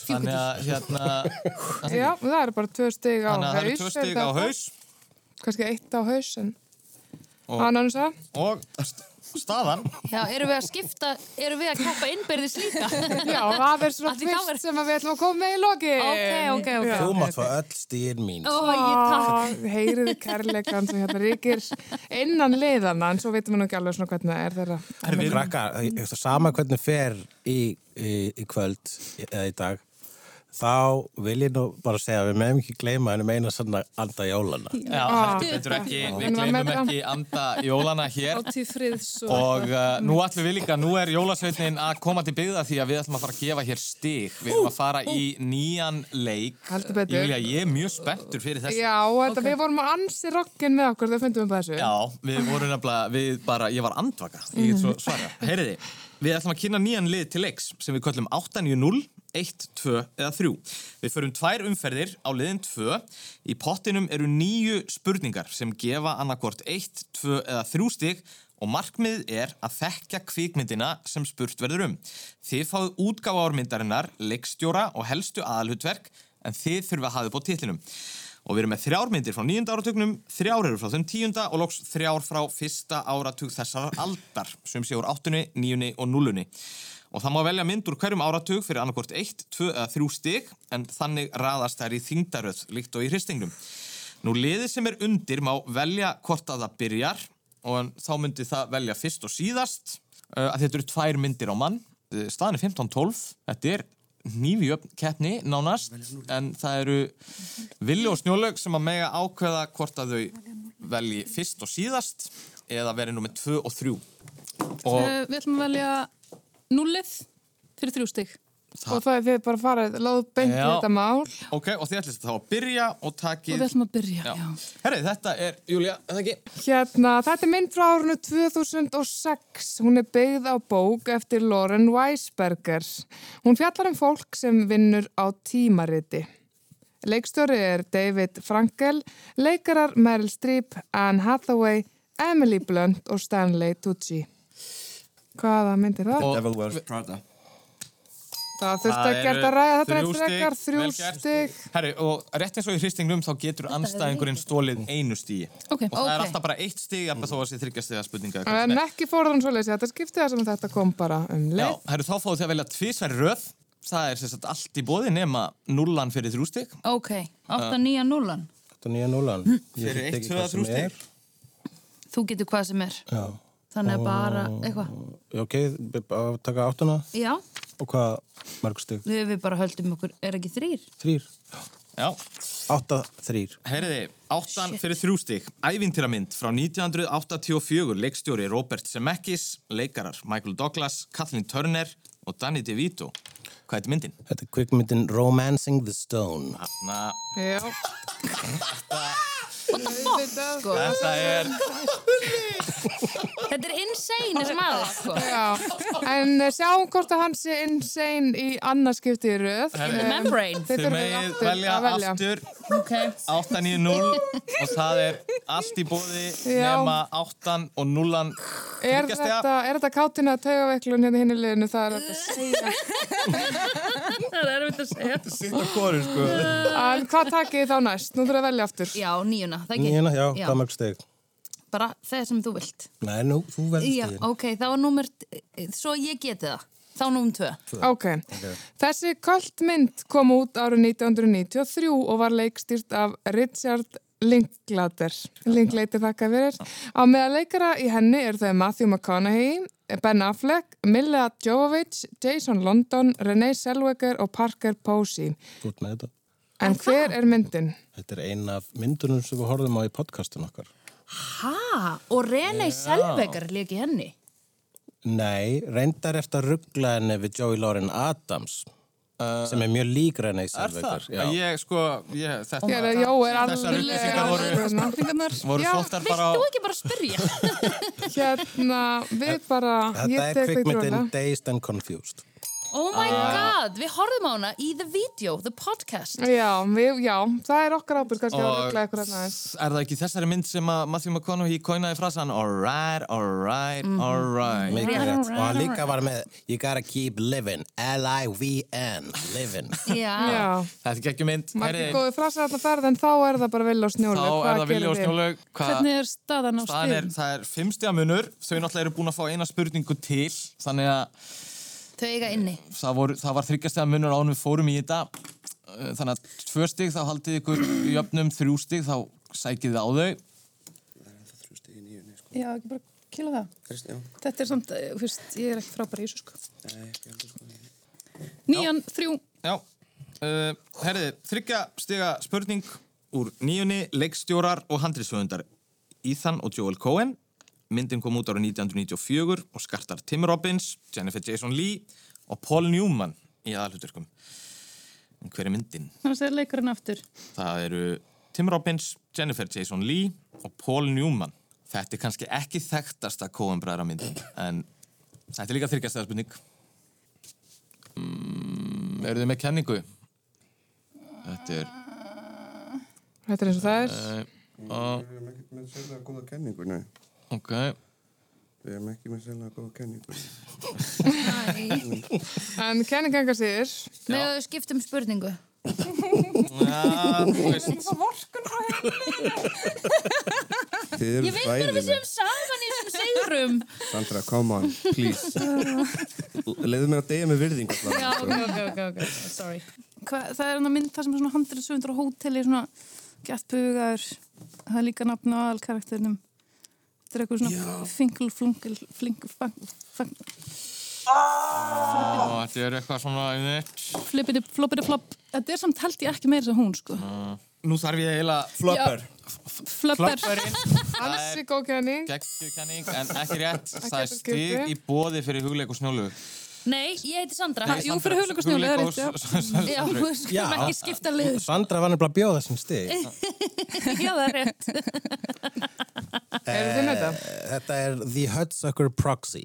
Þannig að [LAUGHS] hérna, Já, það eru bara tvö stig á haus. þannig að það eru tvö stig á haus Kanski eitt á haus, en og, hann annars [LAUGHS] að. og st- staðan já, erum við að skipta, erum við að keppa innbyrðis líka? [LAUGHS] Já, það er svona Að því þá tvist sem að við ætlum að koma með í loki. Ok, ok, ok. Þú mátt fá öll stíðin mín. Ó, ég takk. Heyriði kærleikan sem hérna ríkir innan liðana, en svo veitum við nú ekki alveg svona hvernig það er þeirra. En við krakkar, ég- sama hvernig fer í, í, í kvöld eða í dag, þá vil ég nú bara segja að við meðum ekki gleyma henni meina svona anda jólana. Já, Ah, heldur betur ekki, við En var gleymum meira- ekki anda jólana hér Átíð friðs og uh, nú ætlum við líka, nú er jólasveitnin að koma til byggða því að við ætlum að fara að gefa hér stig við erum að fara í nýjan leik Heldur betur. Júlía, ég er mjög spenntur fyrir þessu Já, þetta, við vorum að ansi rockin með okkur, þau fundum við bara þessu. Já, við vorum nefnilega, við bara, ég var andvaka, ég get svo svara. Heyriði, við ætlum að kynna nýjan lið til leiks sem við köllum 8-9-0, 1, 2 eða 3. Við förum tvær umferðir á liðin 2. Í pottinum eru nýju spurningar sem gefa annarkort 1, 2 eða 3 stig og markmið er að þekka kvikmyndina sem spurt verður um. Þið fáið útgáfaormyndarinnar, leikstjóra og helstu aðalhutverk en þið þurfa að hafa upp á titlinum. Og við erum með þrjár myndir frá nýjunda áratugnum, þrjár eru frá þeim tíunda og loks þrjár frá fyrsta áratug þessarar aldar, sem sé úr áttunni, níunni og núlunni. Og það má velja mynd úr hverjum áratug fyrir annarkort 1, 2 eða 3 stig, en þannig raðast þær í þingdaröð, líkt og í hristingnum. Nú, liðið sem er undir má velja hvort að það byrjar og en þá myndi það velja fyrst og síðast uh, að þetta eru tvær myndir á mann uh, staðan er 15-12 þetta er nýfjöfn keppni nánast en það eru villi og snjólaug sem að mega ákveða hvort að þau velji fyrst og síðast eða veri nummer 2 og 3 og Eh, Við ætlum að velja nullið fyrir þrjú stig. Og það er þið bara farið, láðu beint í Já. þetta mál. ok, og þið ætlist þá að byrja og takið Og við ætlum að byrja, já. Herri, þetta er, Júlia, er það ekki? Hérna, þetta er mynd frá árunnu 2006. Hún er byggð á bók eftir Lauren Weisberger. Hún fjallar um fólk sem vinnur á tímariti. Leikstjóri er David Frankel, leikarar Meryl Streep, Anne Hathaway, Emily Blunt og Stanley Tucci. Hvaða mynd er það? Devil Wears Prada Það þurfti Það að gera eru þetta að ræða þetta er þrjú eitt stig, frekar, þrjú vel gert. stygg. Herri, og rétt eins og í hristingnum þá getur anstæðingurinn stólið einu stíi Ok, og það er ok. alltaf bara eitt stíi að þó að sé þryggja stíða spurninga eða hvað sem En ekki fóruðan svo leysi, þetta skipti það sem þetta kom bara um Já, leið. herru, þá fáðu þið að velja tvísverri röð Það er sem sagt allt í bóði nema nullan fyrir þrjú stig Ok, 8-9-0 Þetta er nýja núlan. Fyrir eitt, tvö eða þrjú stig þú getur hvað sem er Já. þannig að bara, eitthvað Ok, b- b- taka áttuna já, og hvað mörg stygg? við, við bara höldum okkur, er ekki þrýr Þrýr. Já. Átta, þrýr. Herriði, áttan fyrir þrjú stig. Ævintyramynd frá 1984, leikstjóri Robert Zemeckis, leikarar Michael Douglas, Kathleen Turner og Danny DeVito. Hvað heitir myndin? Þetta er kvikmyndin Romancing the Stone. Na, Já. What the fuck, sko? Þetta er- Þetta er insane, þessi maður, sko Já, en eh, sjáum hvort að hann sé insane í annarskipti í röð. Herri, Eh, Þið Þið þurfum megið aftur velja að velja. aftur 890 og það er allt í bóði Já. nema 8 og 0 Er þetta, er þetta kátina að tauga veiklun hérna hinn í liðinu? Það er þetta að [LAUGHS] segja. Það er erfitt að segja Sitt og kori, sko. En hvað takið þið þá næst? Nú þurfum við að velja aftur. Já, nýjuna, það ekki? Nýjana, já, hvað mörg stygg? Bara það sem þú vilt Nei, nú, þú verður Já, stigin. ok, þá er númer Svo ég geti það, þá númer tvö Ok. Þessi kvöldmynd kom út árið 1993 og var leikstýrt af Richard Linklater. Linklater þakka fyrir. Á meða leikara í henni eru þau Matthew McConaughey, Ben Affleck, Milla Jovovich, Jason London, Renee Zellweger og Parker Posey. Þú ert með þetta. En hver er myndin? Þetta er ein af myndunum sem við horfum á í podcastun okkar. Ha, og Renei Selvegar líki henni Nei, reyndar eftir að ruggla henni við Joey Lauren Adams sem Uh, er mjög lík Renée Zellweger. Já. Ég, sko, ég, þetta Já, já, er Þessar alveg- upplýsingar voru, voru Já, svoltar bara á Þú ekki bara spyrja [LAUGHS] Hérna, við bara... Þetta ég tek þau er í trúna. kvikmyndin Dazed and Confused. Oh my Ah. god, við horfum á hana í the video, the podcast Já, við, já, það er okkar ábyrg kannski að Og- regla eitthvað aðeins. Er það ekki þessari mynd sem að Matthew McConaughey kóinaði frasan Alright, alright, alright Mikið rétt. Og hann líka var með You gotta keep living. L-I-V-N. Living. [LAUGHS] Já. Þetta er ekki mynd Margir Herri, góði frasa alltaf ferð en þá er það bara vilja og Þá snjólaug. er það vilja og snjólaug Hvernig er staðan á Staðan er, stigum? það er fimmstiga munur, þau náttúrulega eru búin að fá eina spurningu til, þannig að Þau eiga inni það, voru, það var þryggjastiga munur ánum við fórum í þetta, Eh, þannig að tvö stig þá haldið ykkur í öfnum, þrjú stig þá sækið þið á þau. Já, ekki bara kýla það. Kristján. Þetta er samt, eh, þú veist, ég er ekki frábær í þessu sko. Nýjan, þrjú. Já, uh, herriði, þryggja stiga spurning úr nýjunni, leikstjórar og handriðsfjöndar Ethan og Joel Cohen. Myndin kom út ára 1994 og skartar Tim Robbins, Jennifer Jason Leigh og Paul Newman í aðalhuturkum. En hver er myndin? Þannig að segja leikurinn aftur. Það eru Tim Robbins, Jennifer Jason Leigh og Paul Newman. Þetta er kannski ekki þekktasta Coen bræðra myndin, en þetta er líka þryggjastæða spurning. Mm, eru þið með kenningu? Þetta er... eh, Þetta er eins og það er. Æ, og, Við erum ekki með sérlega góða kenningu, nei. ok, Við erum ekki með sérlega góða kenningu. Eh. En kenningengar síður. Með að skiptum spurningu Já, þú veist. Það var vorkun frá Þið Ég eru veit bara bæði við með. séum saman í þessum sigurum [LAUGHS] Sandra, come on, [LAUGHS] please. Leðu mér að deyja með virðingu. allavega, Já, sko. ok, ok, ok, ok, sorry. Hva, það er hann mynd það sem er svona handrið sögundur á hóteli, svona gættbugaður. Það er líka nafn á aðalkarakterinum. Þetta er eitthvað svona fingul, flungul, flingul, fang, fang, og þetta er eitthvað svona... einmitt. flippity, floppity, flop. Þetta er samt held ég ekki meira sem hún, sko. Mm, Nú þarf ég eiginlega... Flubber. Flöppar. Flöpparinn. Ansi góð kenning. Gekkjukenning, en ekki rétt. Það er Ekki stig í bóði fyrir hugleik og snjólu. Nei, ég heiti Sandra Nei, Jú, Sandra, fyrir hugleik og snjólu, það [LAUGHS] er hugleik og s- s- rétt Já, Sandra. Já, við skulum ekki skipta lið Sandra var nefnilega að bjóða þessum stig. Já, það er rétt Eru þið með það? Þetta er The Hudsucker Proxy.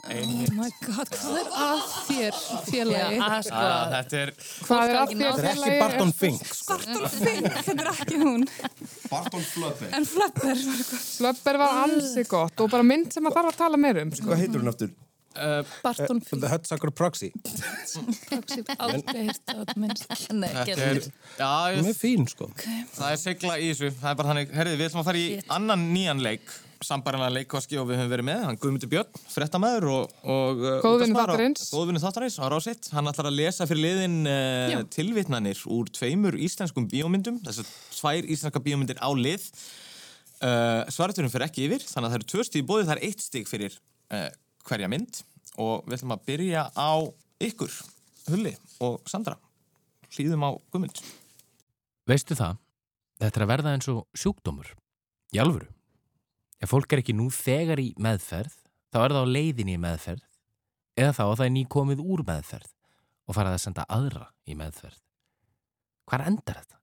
Oh my god, hvað er að þér, félagi? Já, sko. að Ah, Þetta er... Hvað er að þér, Þetta er ekki félagi? Barton Fink. sko, Barton Fink, þetta er [LAUGHS] ekki hún. Barton Flubber. En Flöppar var eitthvað. Flöpper var ansi gott og bara mynd sem maður þarf að tala meir um. Sko. Hvað heitir hún aftur? Barton Fink. The Hudsucker Proxy. Proxy, aldrei hýrt að minnst. Nei, Þetta er... Já, ég... Hún er fín, sko. Það er segla í þessu, það er bara þannig Herðið, við ætlum að fara í annan nýjan leik sambarinlega leikkoski og við höfum verið með hann Guðmundur Björn, frettamæður og, og uh, útvarpsmaður Góðvinur á- þáttarins. Góðvinur þáttarins, hann ráð sitt Hann ætlar að lesa fyrir liðin uh, tilvitnanir úr tveimur íslenskum bíómyndum þessar tvær íslenska bíómyndir á lið Uh, Svaraturinn fer ekki yfir, þannig að það eru tvö stíg bóðið, það er eitt stíg fyrir uh, hverja mynd og við ætlum að byrja á ykkur, Hulli og Sandra. Hlýðum á Guðmund. Veistu það? Þetta er að verða eins og sjúkdómur. Í alvöru. Ef fólk er ekki nú þegar í meðferð, þá er það á leiðinni í meðferð eða þá að það er nýkomið úr meðferð og farað að senda aðra í meðferð. Hvar endar þetta?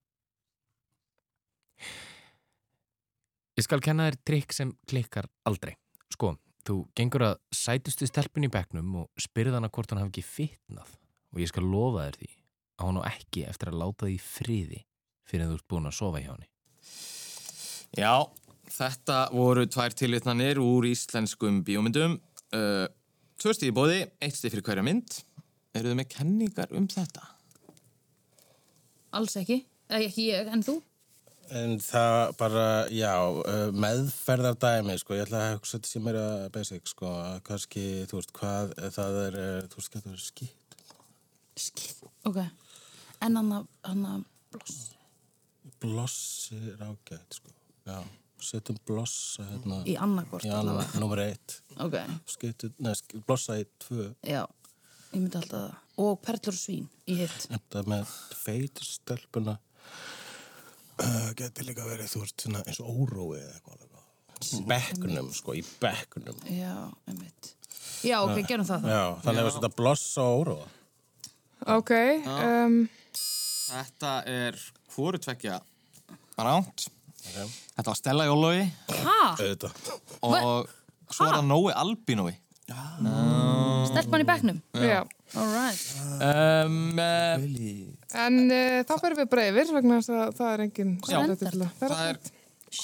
Ég skal kenna þér trikk sem klikkar aldrei. Sko, þú gengur að sætustu stelpun í bekknum og spyrð hana hvort hún hafi ekki fitnað og ég skal lofa þér því að hún á ekki eftir að láta því friði fyrir að þú ert búin að sofa hjá henni. Já, þetta voru tvær tilvitnanir úr íslenskum bíómyndum. Uh, tvö stíg bóði, eitt stíg fyrir hverja mynd. Eru þið með kenningar um þetta? Alls ekki, eða ekki ég, en þú? En það bara, já, uh, meðferðardæmi, sko, ég ætla að hugsa þetta sem meira basic, sko, að kannski, þú veist, hvað, það er, uh, þú veist, hvað það er skýtt. Ok. En hann að, hann að bloss. Blossi er ágætt, sko, já, setjum blossa, hérna. Í annarkvort, Í annað, allavega. nummer eitt. Ok. Skýttu, nei, sk- blossa í tvö. Já, ég myndi alltaf það. Og perlur og svín í hitt. Þetta með feitur stelpuna uh, geti líka verið, þú veist, svona eins og órói eða eitthvað. alveg. Í Bekknum, sko, í bekknum. Já, einmitt. Já, ok, gerum það. Já, þannig að þetta blossa og óróa. Ok, um, Þetta er hvoru tvekja ránt. Þetta var Stella Jólogi. Hæ? Auðvitað. Og svo er það Nói Albinói. Stelpan í bekknum? Já. All right. Um, uh, en uh, þá fyrir við bara yfir vegna þess að það er engin Já, samdætti til að vera það er,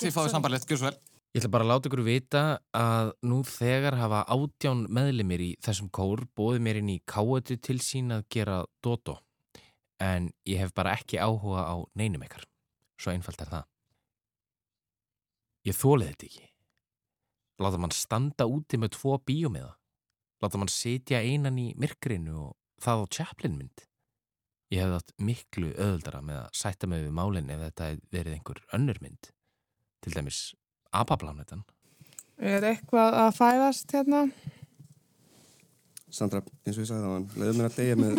þið fáið sambarlegt, gjör svo vel. Ég ætla bara að láta ykkur vita að nú þegar hafa átján meðlimir í þessum kór bóðið mér inn í káetu til sín að gera dodo. En ég hef bara ekki áhuga á neinum ykkar. Svo einfalt er það. Ég þólið þetta ekki. Láta mann standa úti með tvo bíómiða. Láta mann sitja einan í myrkrinu og það á Chaplin mynd. Ég hefði átt miklu öðuldara með að sætta mig við málinn ef þetta hefði verið einhver önnur mynd. Til dæmis Abaplánetan. Er eitthvað að fæðast hérna? Sandra, eins og ég sagði það á hann, leiðum mér að deyja með...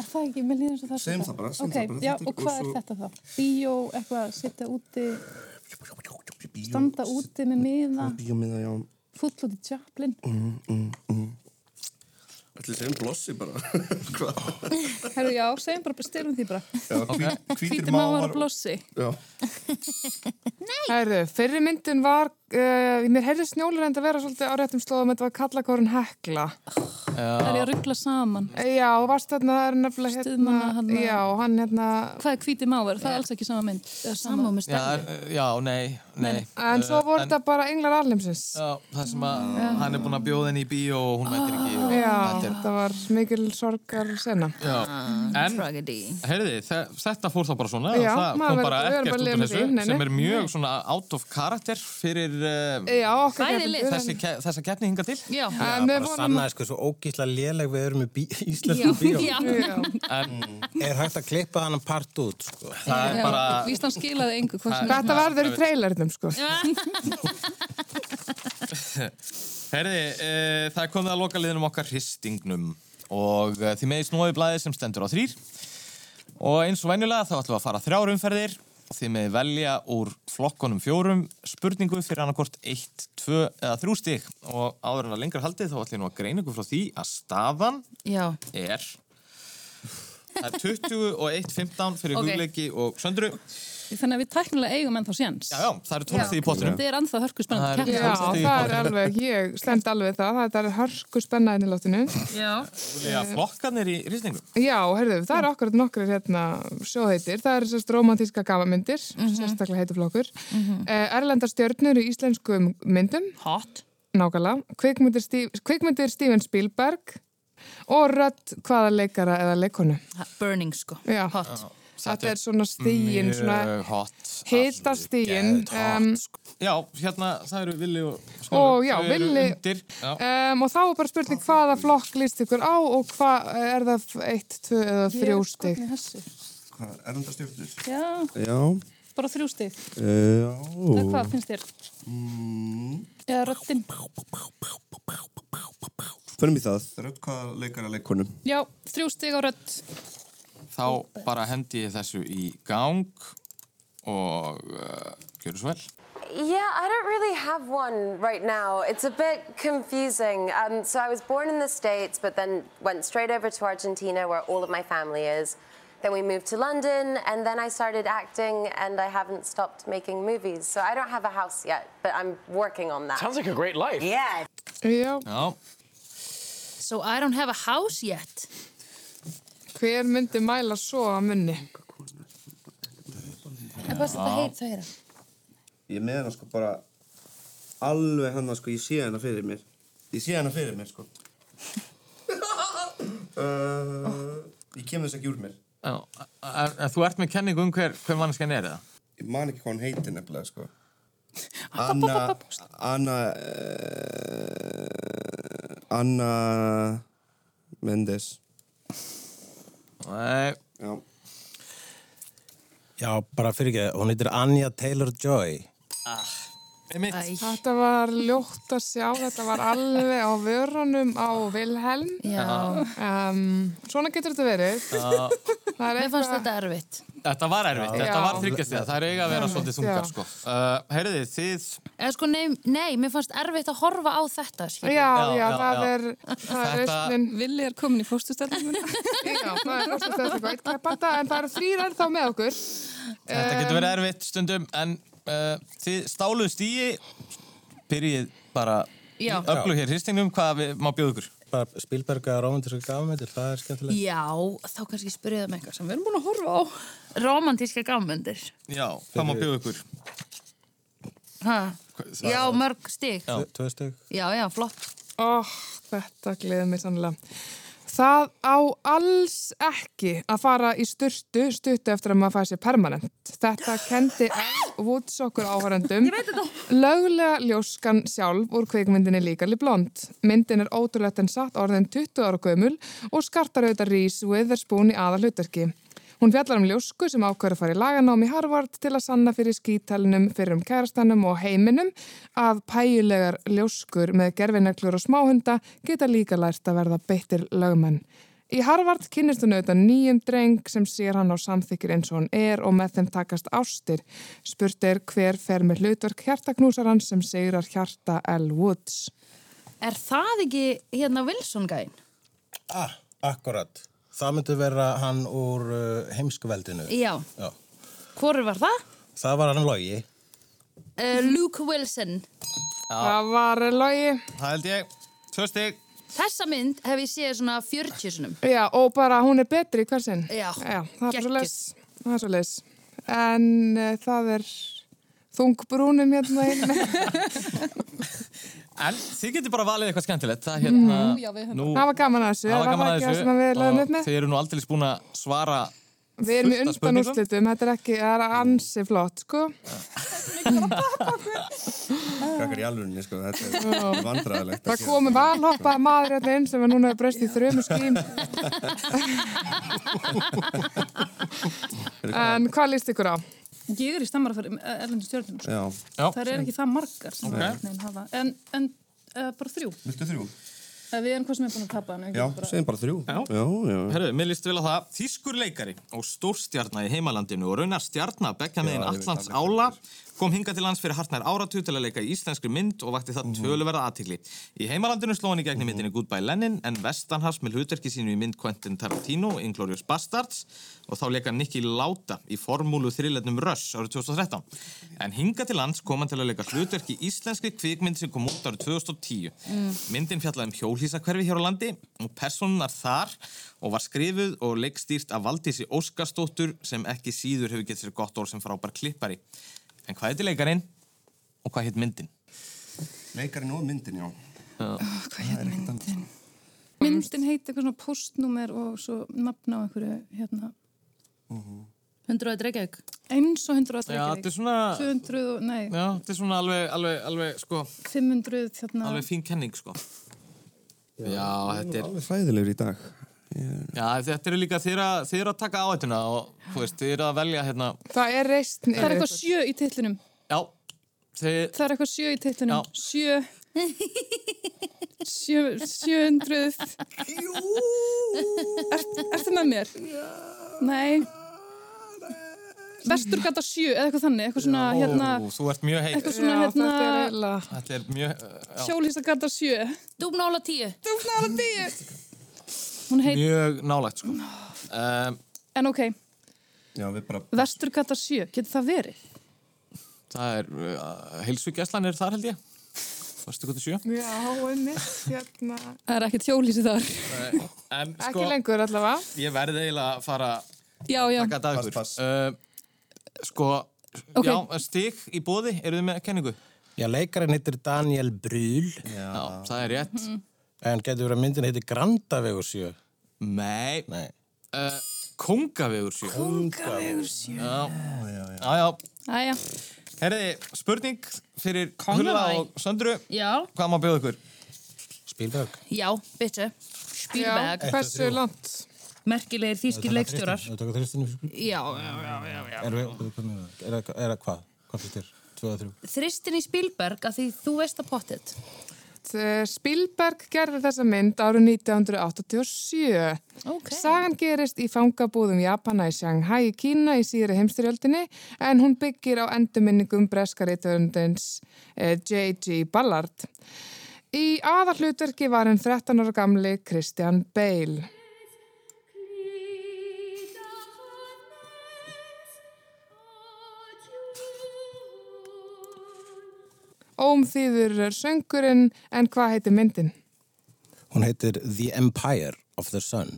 Er það ekki, mér líður eins og það er Segjum þetta. það bara, segjum Ok, það bara, Já, þetta er- og hvað og er svo- þetta þá? Bíó, eitthvað, sitja úti, standa úti með miða, Bíómiða, já. full út í tjaplin. Mm, mm, mm. Ætli segjum blossi bara. [LAUGHS] Hvað? Herru, já, segjum bara, styrum því bara. Já, hvít- Hvítir mávar og blossi. Já. Herðu, fyrri myndin var, uh, mér heyrði snjólur enda að vera svolítið á réttum slóðum, þetta var kallakorun Hekla. Það er ég að Já, ruggla saman. Já, varst þarna, það er nefnilega hérna. Stuðmanna þarna. Já, hann hérna. Hvað er hvítir mávar? Það er alls ekki sama mynd. Það er sama já, eh, já, nei, nei. En svo Eh, voru þetta bara englar alheimsins. Já, það sem að hann er búin að bjóða henni í bíó og hún mættir ekki. og Já, þetta er- þetta var mikil sorgar sena. Já, en heyrði, þe- þetta fór þá bara svona Já, það maður kom verður- bara við verðum ekkert bara að út lifa úr með þessu því, nei, nei. sem er mjög svona out of character fyrir uh, Já, okkar Eh, Bæði keppendur. lið. þessi, ke- þessa keppni hinga til Já, En við bara vonum- sannaði sko svo ógísla léleg við erum í bí [LAUGHS] íslenskum bíó. Er hægt að klippa hann part út, sko. Það Já, Víst hann skilaði engu hvað sem Þetta verður í trailernum, sko. Herði, uh, það er komið að loka liðinum okkar hristingnum og uh, því meði snúið blæði sem stendur á þrýr og eins og venjulega þá ætlum við að fara þrjár umferðir og því meði velja úr flokkonum fjórum spurningu fyrir annarkort 1, 2 eða 3 stík og áður en að lengra haldið þá ætlum ég nú að greina ykkur frá því að staðan Já. er það er 20 og 1, 15 fyrir Ok. okay. og söndru Þannig að við tæknilega eigum ennþá séns. Já, já, það eru 12 stig í pottinum. Þetta er ennþá hörku Það eru spennandi. Já, það er alveg, ég stend alveg það, þetta er hörku spennaðin í lótinu. Já. Vilja flokkarnir í hristingnum Já, herðu, það eru okkur nokkrir hérna sjóheitir, það eru sérst romantíska gamamyndir, sérstaklega heitir flokkur. Mm Erlendar stjörnur í íslenskum myndum. Hot. Nákvæmlega. Kvikmyndir, Steve, kvikmyndir Steven Spielberg og rödd hvaða leikara eða leikonu. Burning, sko. Já. Hot. Þetta er svona stíin, svona Mjög hot. hildastíin. Um, Já, hérna, það eru Villi og Snjólaug. og já, Þau eru villi Undir, já. um, og þá er bara spurning hvaða flokk líst ykkur á og hvað er það f- eitt, tvö eða þrjú stig Hvað, erndastjórnir? Já, Já. bara þrjú stig. Uh, já. Eða hvað finnst þér? Mm, Eða röttin? Förum í það. Rödd hvaða leikara leikunum? Já, þrjú stig á rött. Þá bara hendi ég þessu í gang og uh, gjöru svo vel. Yeah, I don't really have one right now. It's a bit confusing. Um, so I was born in the States, but then went straight over to Argentina, where all of my family is. Then we moved to London, and then I started acting, and I haven't stopped making movies. So I don't have a house yet, but I'm working on that. Sounds like a great life. Yeah. Já. Já. So I don't have a house yet. hver myndi mæla svo að munni En hvað er þetta heit það hérna? Ég er með hana sko bara alveg hana sko, ég sé hana fyrir mér. Ég sé hana fyrir mér sko. [LAUGHS] uh, ég kem þess ekki úr mér. Já, en en þú ert með kenningu um hver, hver mannskjan er það? Ég man ekki hvað hann heitir nefnilega sko. Anna Anna uh, Anna Mendes Nei Já, Já, bara fyrir ekki, hún heitir Anja Taylor-Joy. þetta var ljótt að sjá þetta var alveg á vörunum á Vilhelm Já. um, svona getur þetta verið Já. það er Mér fannst eitthvað þetta erfitt. Þetta var erfitt, Já. þetta var þryggjast Það er eiga að vera Já. svolítið þungar Já. sko. uh, Heyriði, þið Eða sko, nei, nei, mér fannst erfitt að horfa á þetta, skilur. Já, Já, já, já, það já. er- það er Þetta- Villi er komin í fóstustellinguna. Já, það er fórstast eftir eitthvað eitt keppanda en það eru þrýr ennþá með okkur Þetta getur verið Um, erfitt stundum En uh, þið stáluð stíi Byrjið bara Já. Öflu hér hristingnum, hvað við, má bjóða ykkur Bara Spielberg að romantíska gafmyndir, það er skemmtilegt. Já, þá kannski spyrjaðum eitthvað sem við erum búin að horfa á. Romantíska gammöndir. Já, hvað má bjóða ykkur Ha? það- Já, mörg stig. Já. Tvö steg. já, já, flott. oh, Þetta gleði mig sannlega Það á alls ekki að fara í styrtu stuttu eftir að maður fæði sér permanent Þetta kendi all Woods okkur áhörendum Löglega ljóskan sjálf úr kveikmyndinni líkali blond Myndin er ótrúlegt en satt orðin 20 ára gömul og skartar auðvitað Reese Witherspoon í aðalhutarki Hún fjallar um ljósku sem ákveður að fara í laganám í Harvard til að sanna fyrir skítalinum, fyrir um kærastanum og heiminum að pæjulegar ljóskur með gerfinneklur og smáhunda geta líka lært að verða beittir lögmenn. Í Harvard kynnist hún auðvitað nýjum dreng sem sér hann á samþykir eins og hann er og með þeim takast ástir. Spurt er hver fer með hlutverk hjartaknúsarans sem segrar hjarta L. Woods. Er það ekki hérna Wilson-gæn? Ah, akkurat. Það myndi vera hann úr uh, heimskveldinu. Já. Já. Hvorur var það? Það var hann logi. Uh, Luke Wilson. Það var logi. Það held ég, tvö stig Þessa mynd hef ég séð svona 40 sinum. Já, og bara hún er betri í hversinn. Já, Já, það er geggjuð. svo leys. Það er svo leys. En uh, það er þungbrúnin hérna hérna. [LAUGHS] En þið getur bara valið eitthvað skemmtilegt Það, hérna, Mhm. Já, við höfum- Það var gaman að þessu, Það var var gaman það að ekki þessu það sem við lögðum og upp með? hérna? Þið eru nú aldrei búin að svara Við erum í fullt af undan spurningum. úrslitum, þetta er ekki, það er ansi flott, sko. krakkar í alvörunni sko, þetta Já. er vandræðilegt. Það komi valhoppa maður hérna inn sem er núna breyst í [LAUGHS] þrjumu ským. en hvað líst ykkur á? Ég er í stammara fyrir erlendu stjórnum. Já. Já. Það eru ekki það margar sem Nei. okay. neginn hafa. En, en uh, bara þrjú. Viltu þrjú? Ef við erum hvað sem er búin að tapa. en ef ekki Já, bara- segjum bara þrjú. Já, já. já. Herru, mér líst vel á það. Þýskur leikari og stórstjarnar í heimalandinu og raunar stjarnar bekkja meðin Já, ég veit Allands Ála kom hinga til lands fyrir hartnær áratug til að leika í íslenskri mynd og vakti Mhm. það töluverða aðtikli. Í heimalandinu sló hann í gegnum myndinni Goodbye Lenin en vestanhafs með hlutverki sínu í mynd Quentin Tarantino, Inglourious Bastards og þá leika Nicky Lauda í formúlu þriletnum Rush árið 2013. En hinga til lands kom hann til að leika hlutverki í íslenskri kvikmynd sem kom út árið 2010. Mm. Myndin fjallaði um hjólhísakverfi hér á landi og personunar þar og var skrifuð og leikstýrt af Valdísi Óskarsdóttur sem ekki síður hefur gett sér gott orð sem frábær klippari. En hvað heitir leikarinn og hvað heit myndin? Leikarinn og um myndin, já. Hvað heit myndin? Myndin heitir eitthvað svona postnúmer og svo nafn á einhverju hérna. 100 Reykjavík Eins og 100 Já, Reykjavík. þetta er svona- 200 og, nei, Já, þetta er svona alveg, alveg, alveg, sko, 500 þarna. alveg fín kenning, sko. Já, þetta er... Alveg hræðilegur í dag. Já, þetta eru líka þeir að, þeir að taka áhættuna og, þú veist, þeir að velja, hérna... Það er reist niður. Það er eitthvað sjö í titlinum. Já, þeir... Það er eitthvað sjö í titlinum. Sjö. Sjö, sjöundruð. Er, ertu með mér? Nei. Vesturgata sjö, eða eitthvað þannig. Eitthvað svona, hérna, Ó, þú ert mjög heit. eitthvað svona, Já, hérna, þetta er Þetta er mjög... uh, já, hjólhýstagata sjö. Dúbnála tíu. Dúbnála tíu. Hún heit, Mjög nálægt, sko. Um, en ok, já, við bara... Vesturgata sjö, getur það verið? Það er... Uh, Heilsugjæslan er þar, held ég. Varstu gott í sjö? Já, einmitt, hérna. Það er ekkert hjólhýsi þar. Nei, En, sko, Ekki lengur allavega. ég verði eiginlega að fara... Já, já. Takka þetta að ykkur. Uh, sko, Ok. já, stig í bóði, eru þið með kenningu? Já, leikarinn heitir Daniel Brühl. Já, það er rétt. Mhm. En getur verið að myndin heitir Grandavegur 7? Nei. Nei. Uh, Kongavegur 7. Kóngavegur 7. Já, já, já. já, já. Æja. Herriði, spurning fyrir Kóngavæ. Hulla og Söndru. Já. Hvað má bjóða ykkur? Spielberg. Já, bitte. Spielberg. Já, hversu Eitt og þrjú. langt? Merkilegir þýskir leikstjórar. Þú taka þristinu fyrir? Já, já, já, já, já. Er, við, hvað meinar það? er, það- er það hvað? Hvað fyrir þér? Tvö að þrjú? Þristin í Spielberg að því þú veist að pottet. Eh, Spielberg gerði þessa mynd árið 1987. Okay. Sagan gerist í fangabúðum Japana í Shanghai í Kína í síðri heimstyrjöldinni en hún byggir á endurminningum breskarítvörundins J.G. Ballard. Í aðallutverki var hann 13 ára gamli Christian Bale. Óm þýður söngurinn en hvað heitir myndin? Hún heitir The Empire of the Sun.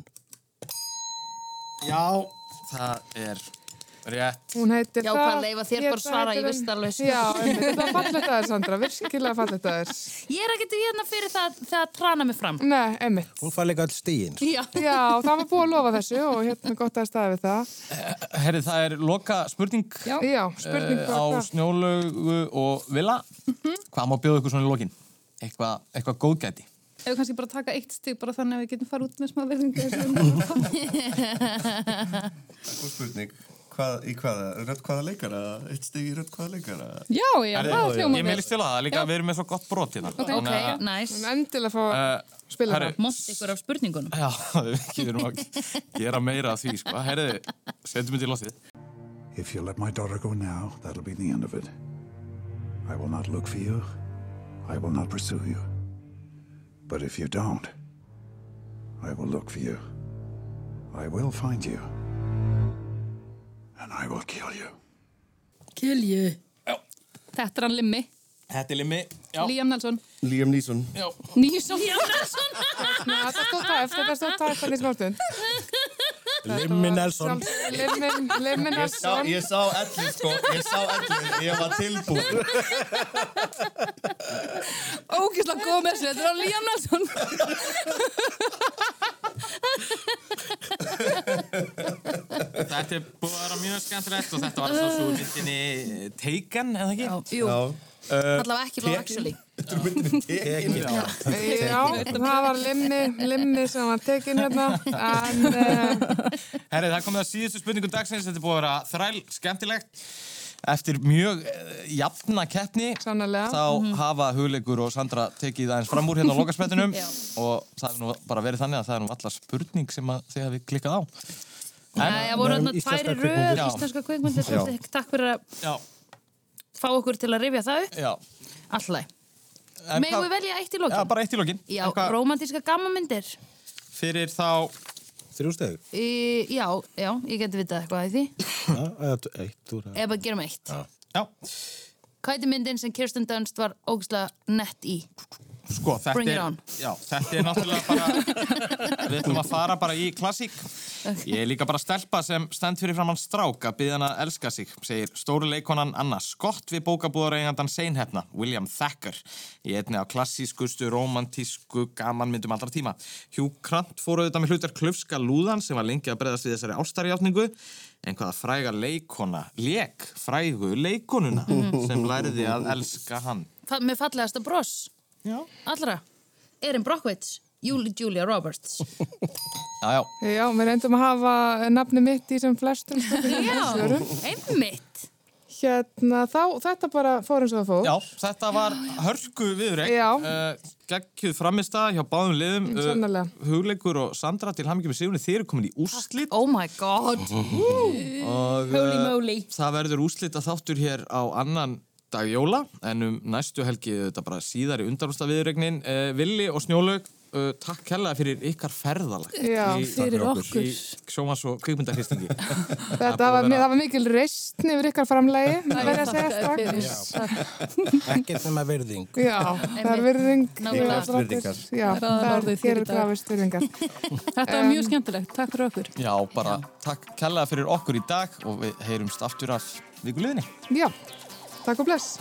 Já. Það er rétt. Hún heitir Já, það. hvað, leyfa þér bara að svara, ég veist alveg. Já, einmitt. það [LAUGHS] er fallegt að þér, Sandra, virkilega fallegt að þér. Ég er ekkert hérna fyrir það, það að trana mig fram. Nei, einmitt. Hún fær líka all stíin. Já. það var búið að lofa þessu og hérna gott að staða við það. Herrið, það er loka spurning Já, spurning eh, frá á hvað? snjólaugu og vila. Hvað má bjóða ykkur svona í lokin? Eitthvað eitthva góðgæti. Ef við kannski bara taka eitt stig bara þannig að við getum farið út með smá verðingar. Góð spurning. Hvað, í hvaða? Rödd hvaða leikara? Eitt stig í rödd hvaða leikara? [LAUGHS] Já, já, Herri, það hljóma Ég meilist til að það, líka við erum með svo gott brot hérna. Þannig að, næs. Nice. Endilega fá eh, spila herri, það. Mótt ykkur af spurningunum. [LAUGHS] Já, við getum að gera meira af því, sko. Herriði, setjum þetta í loftið. If you let my daughter go now, that'll be the end of it. I will not look for you. I will not pursue you. But if you don't, I will look for you. I will find you. And I will kill you. Kilju. Þetta er hann Limmi, Þetta er limmi. Liam Nelson. Liam Neeson. Já. Nýsson. [LAUGHS] Ná, þetta stóð tæft, þetta stóð tæft að því smástund. Limmi Nelson. Limmin, limmin Ég sá, Nelson. ég sá ellið, sko. Ég sá ellið. Ég var tilbúin. Ógislega góð með þessu, þetta er hann Liam Nelson. Þetta er búið að vera mjög skemmtilegt og þetta var svo svo myndinni Taken, eða ekki? Já, jú. uh, Allavega ekki Love Actually. Þetta er myndinni Taken. Já, það var limmi, limmi sem var tekin hérna. En, uh, Herri, það komið að síðustu spurningu dagsins. Þetta er búið að vera þræl skemmtilegt. Eftir mjög uh, jafna keppni Sannarlega. þá Mhm. hafa hugleikur og Sandra tekið aðeins fram úr hérna á [LAUGHS] lokasprettinum Já. og það er nú bara verið þannig að það er nú allar spurning sem að þið hafi klikkað á. Nei, það voru hérna tværi röð Já. íslenska kveikmyndir. Já. Takk- Takk fyrir að Já. fá okkur til að rifja það upp. Já. Alltaf. En Megum hvað- við velja eitt í lokin? Já, bara eitt í lokin. Já, En hvað- rómantíska gammamyndir. Fyrir þá... Þrjú [LAUGHS] stegu. Í, já, já, ég geti vitað eitthvað af því. Já, eða t- eitt úr það. Ef bara gerum eitt. Já. [LAUGHS] Hvað er myndin sem Kirsten Dunst var ógislega nett í? Sko, þetta Bring it er, on. Já, þetta er náttúrulega [LAUGHS] bara, við ætlum að fara bara í klassík. Ég er líka bara stelpa sem stend fyrir framann strák að byggja hann að elska sig, segir stóru leikonan Anna Scott við bókabúðareigandan seinhefna, William Thacker, í einni á klassískustu, romantísku, gamanmyndum allra tíma. Hugh Grant fór auðvitað með hlutar klöfska lúðan sem var lengi að breyðast við þessari ástarjátningu, en hvaða fræga leikona, lék frægu [LAUGHS] leikonuna sem lærði að elska hann. Fa- Með fallegasta bross Já. Allra Erin Brockwitz Julie Julia Roberts Já, já. Já, við reyndum að hafa nafni mitt í sem flestum Já, spurningum. einmitt Hérna, þá, þetta bara fór eins og það fór. Já, þetta var hörku viðreik Já. uh, Gekkjuð framistað hjá báðum liðum eh, Mm, sannarlega. Hugleikur og Sandra til hamingjum með sigunni Þeir eru komin í úrslit Oh my god og, Holy eh, moly Það verður úrslit að þáttur hér á annan dag jóla En um næstu helgi þetta bara síðar í undanústa viðreiknin uh, Villi og Snjólaug uh, Takk hella fyrir ykkar ferðalag Já, í- fyrir í- okkur. Í sjómas og [LAUGHS] kvikmyndahristingi Þetta var, það var mikil reistn yfir ykkar framlægi, það verði að segja strax. Ekkert nema virðing. Já, það er virðing. Nákvæmlega. fyrir okkur. Virðingar. Já, Það er aðal það orðið er fyrir hér í dag. grafist virðingar. Þetta var mjög skemmtilegt, takk fyrir okkur. Já, bara takk hella fyrir okkur í dag Og við heyrumst aftur af vikuleginni Já, takk og bless.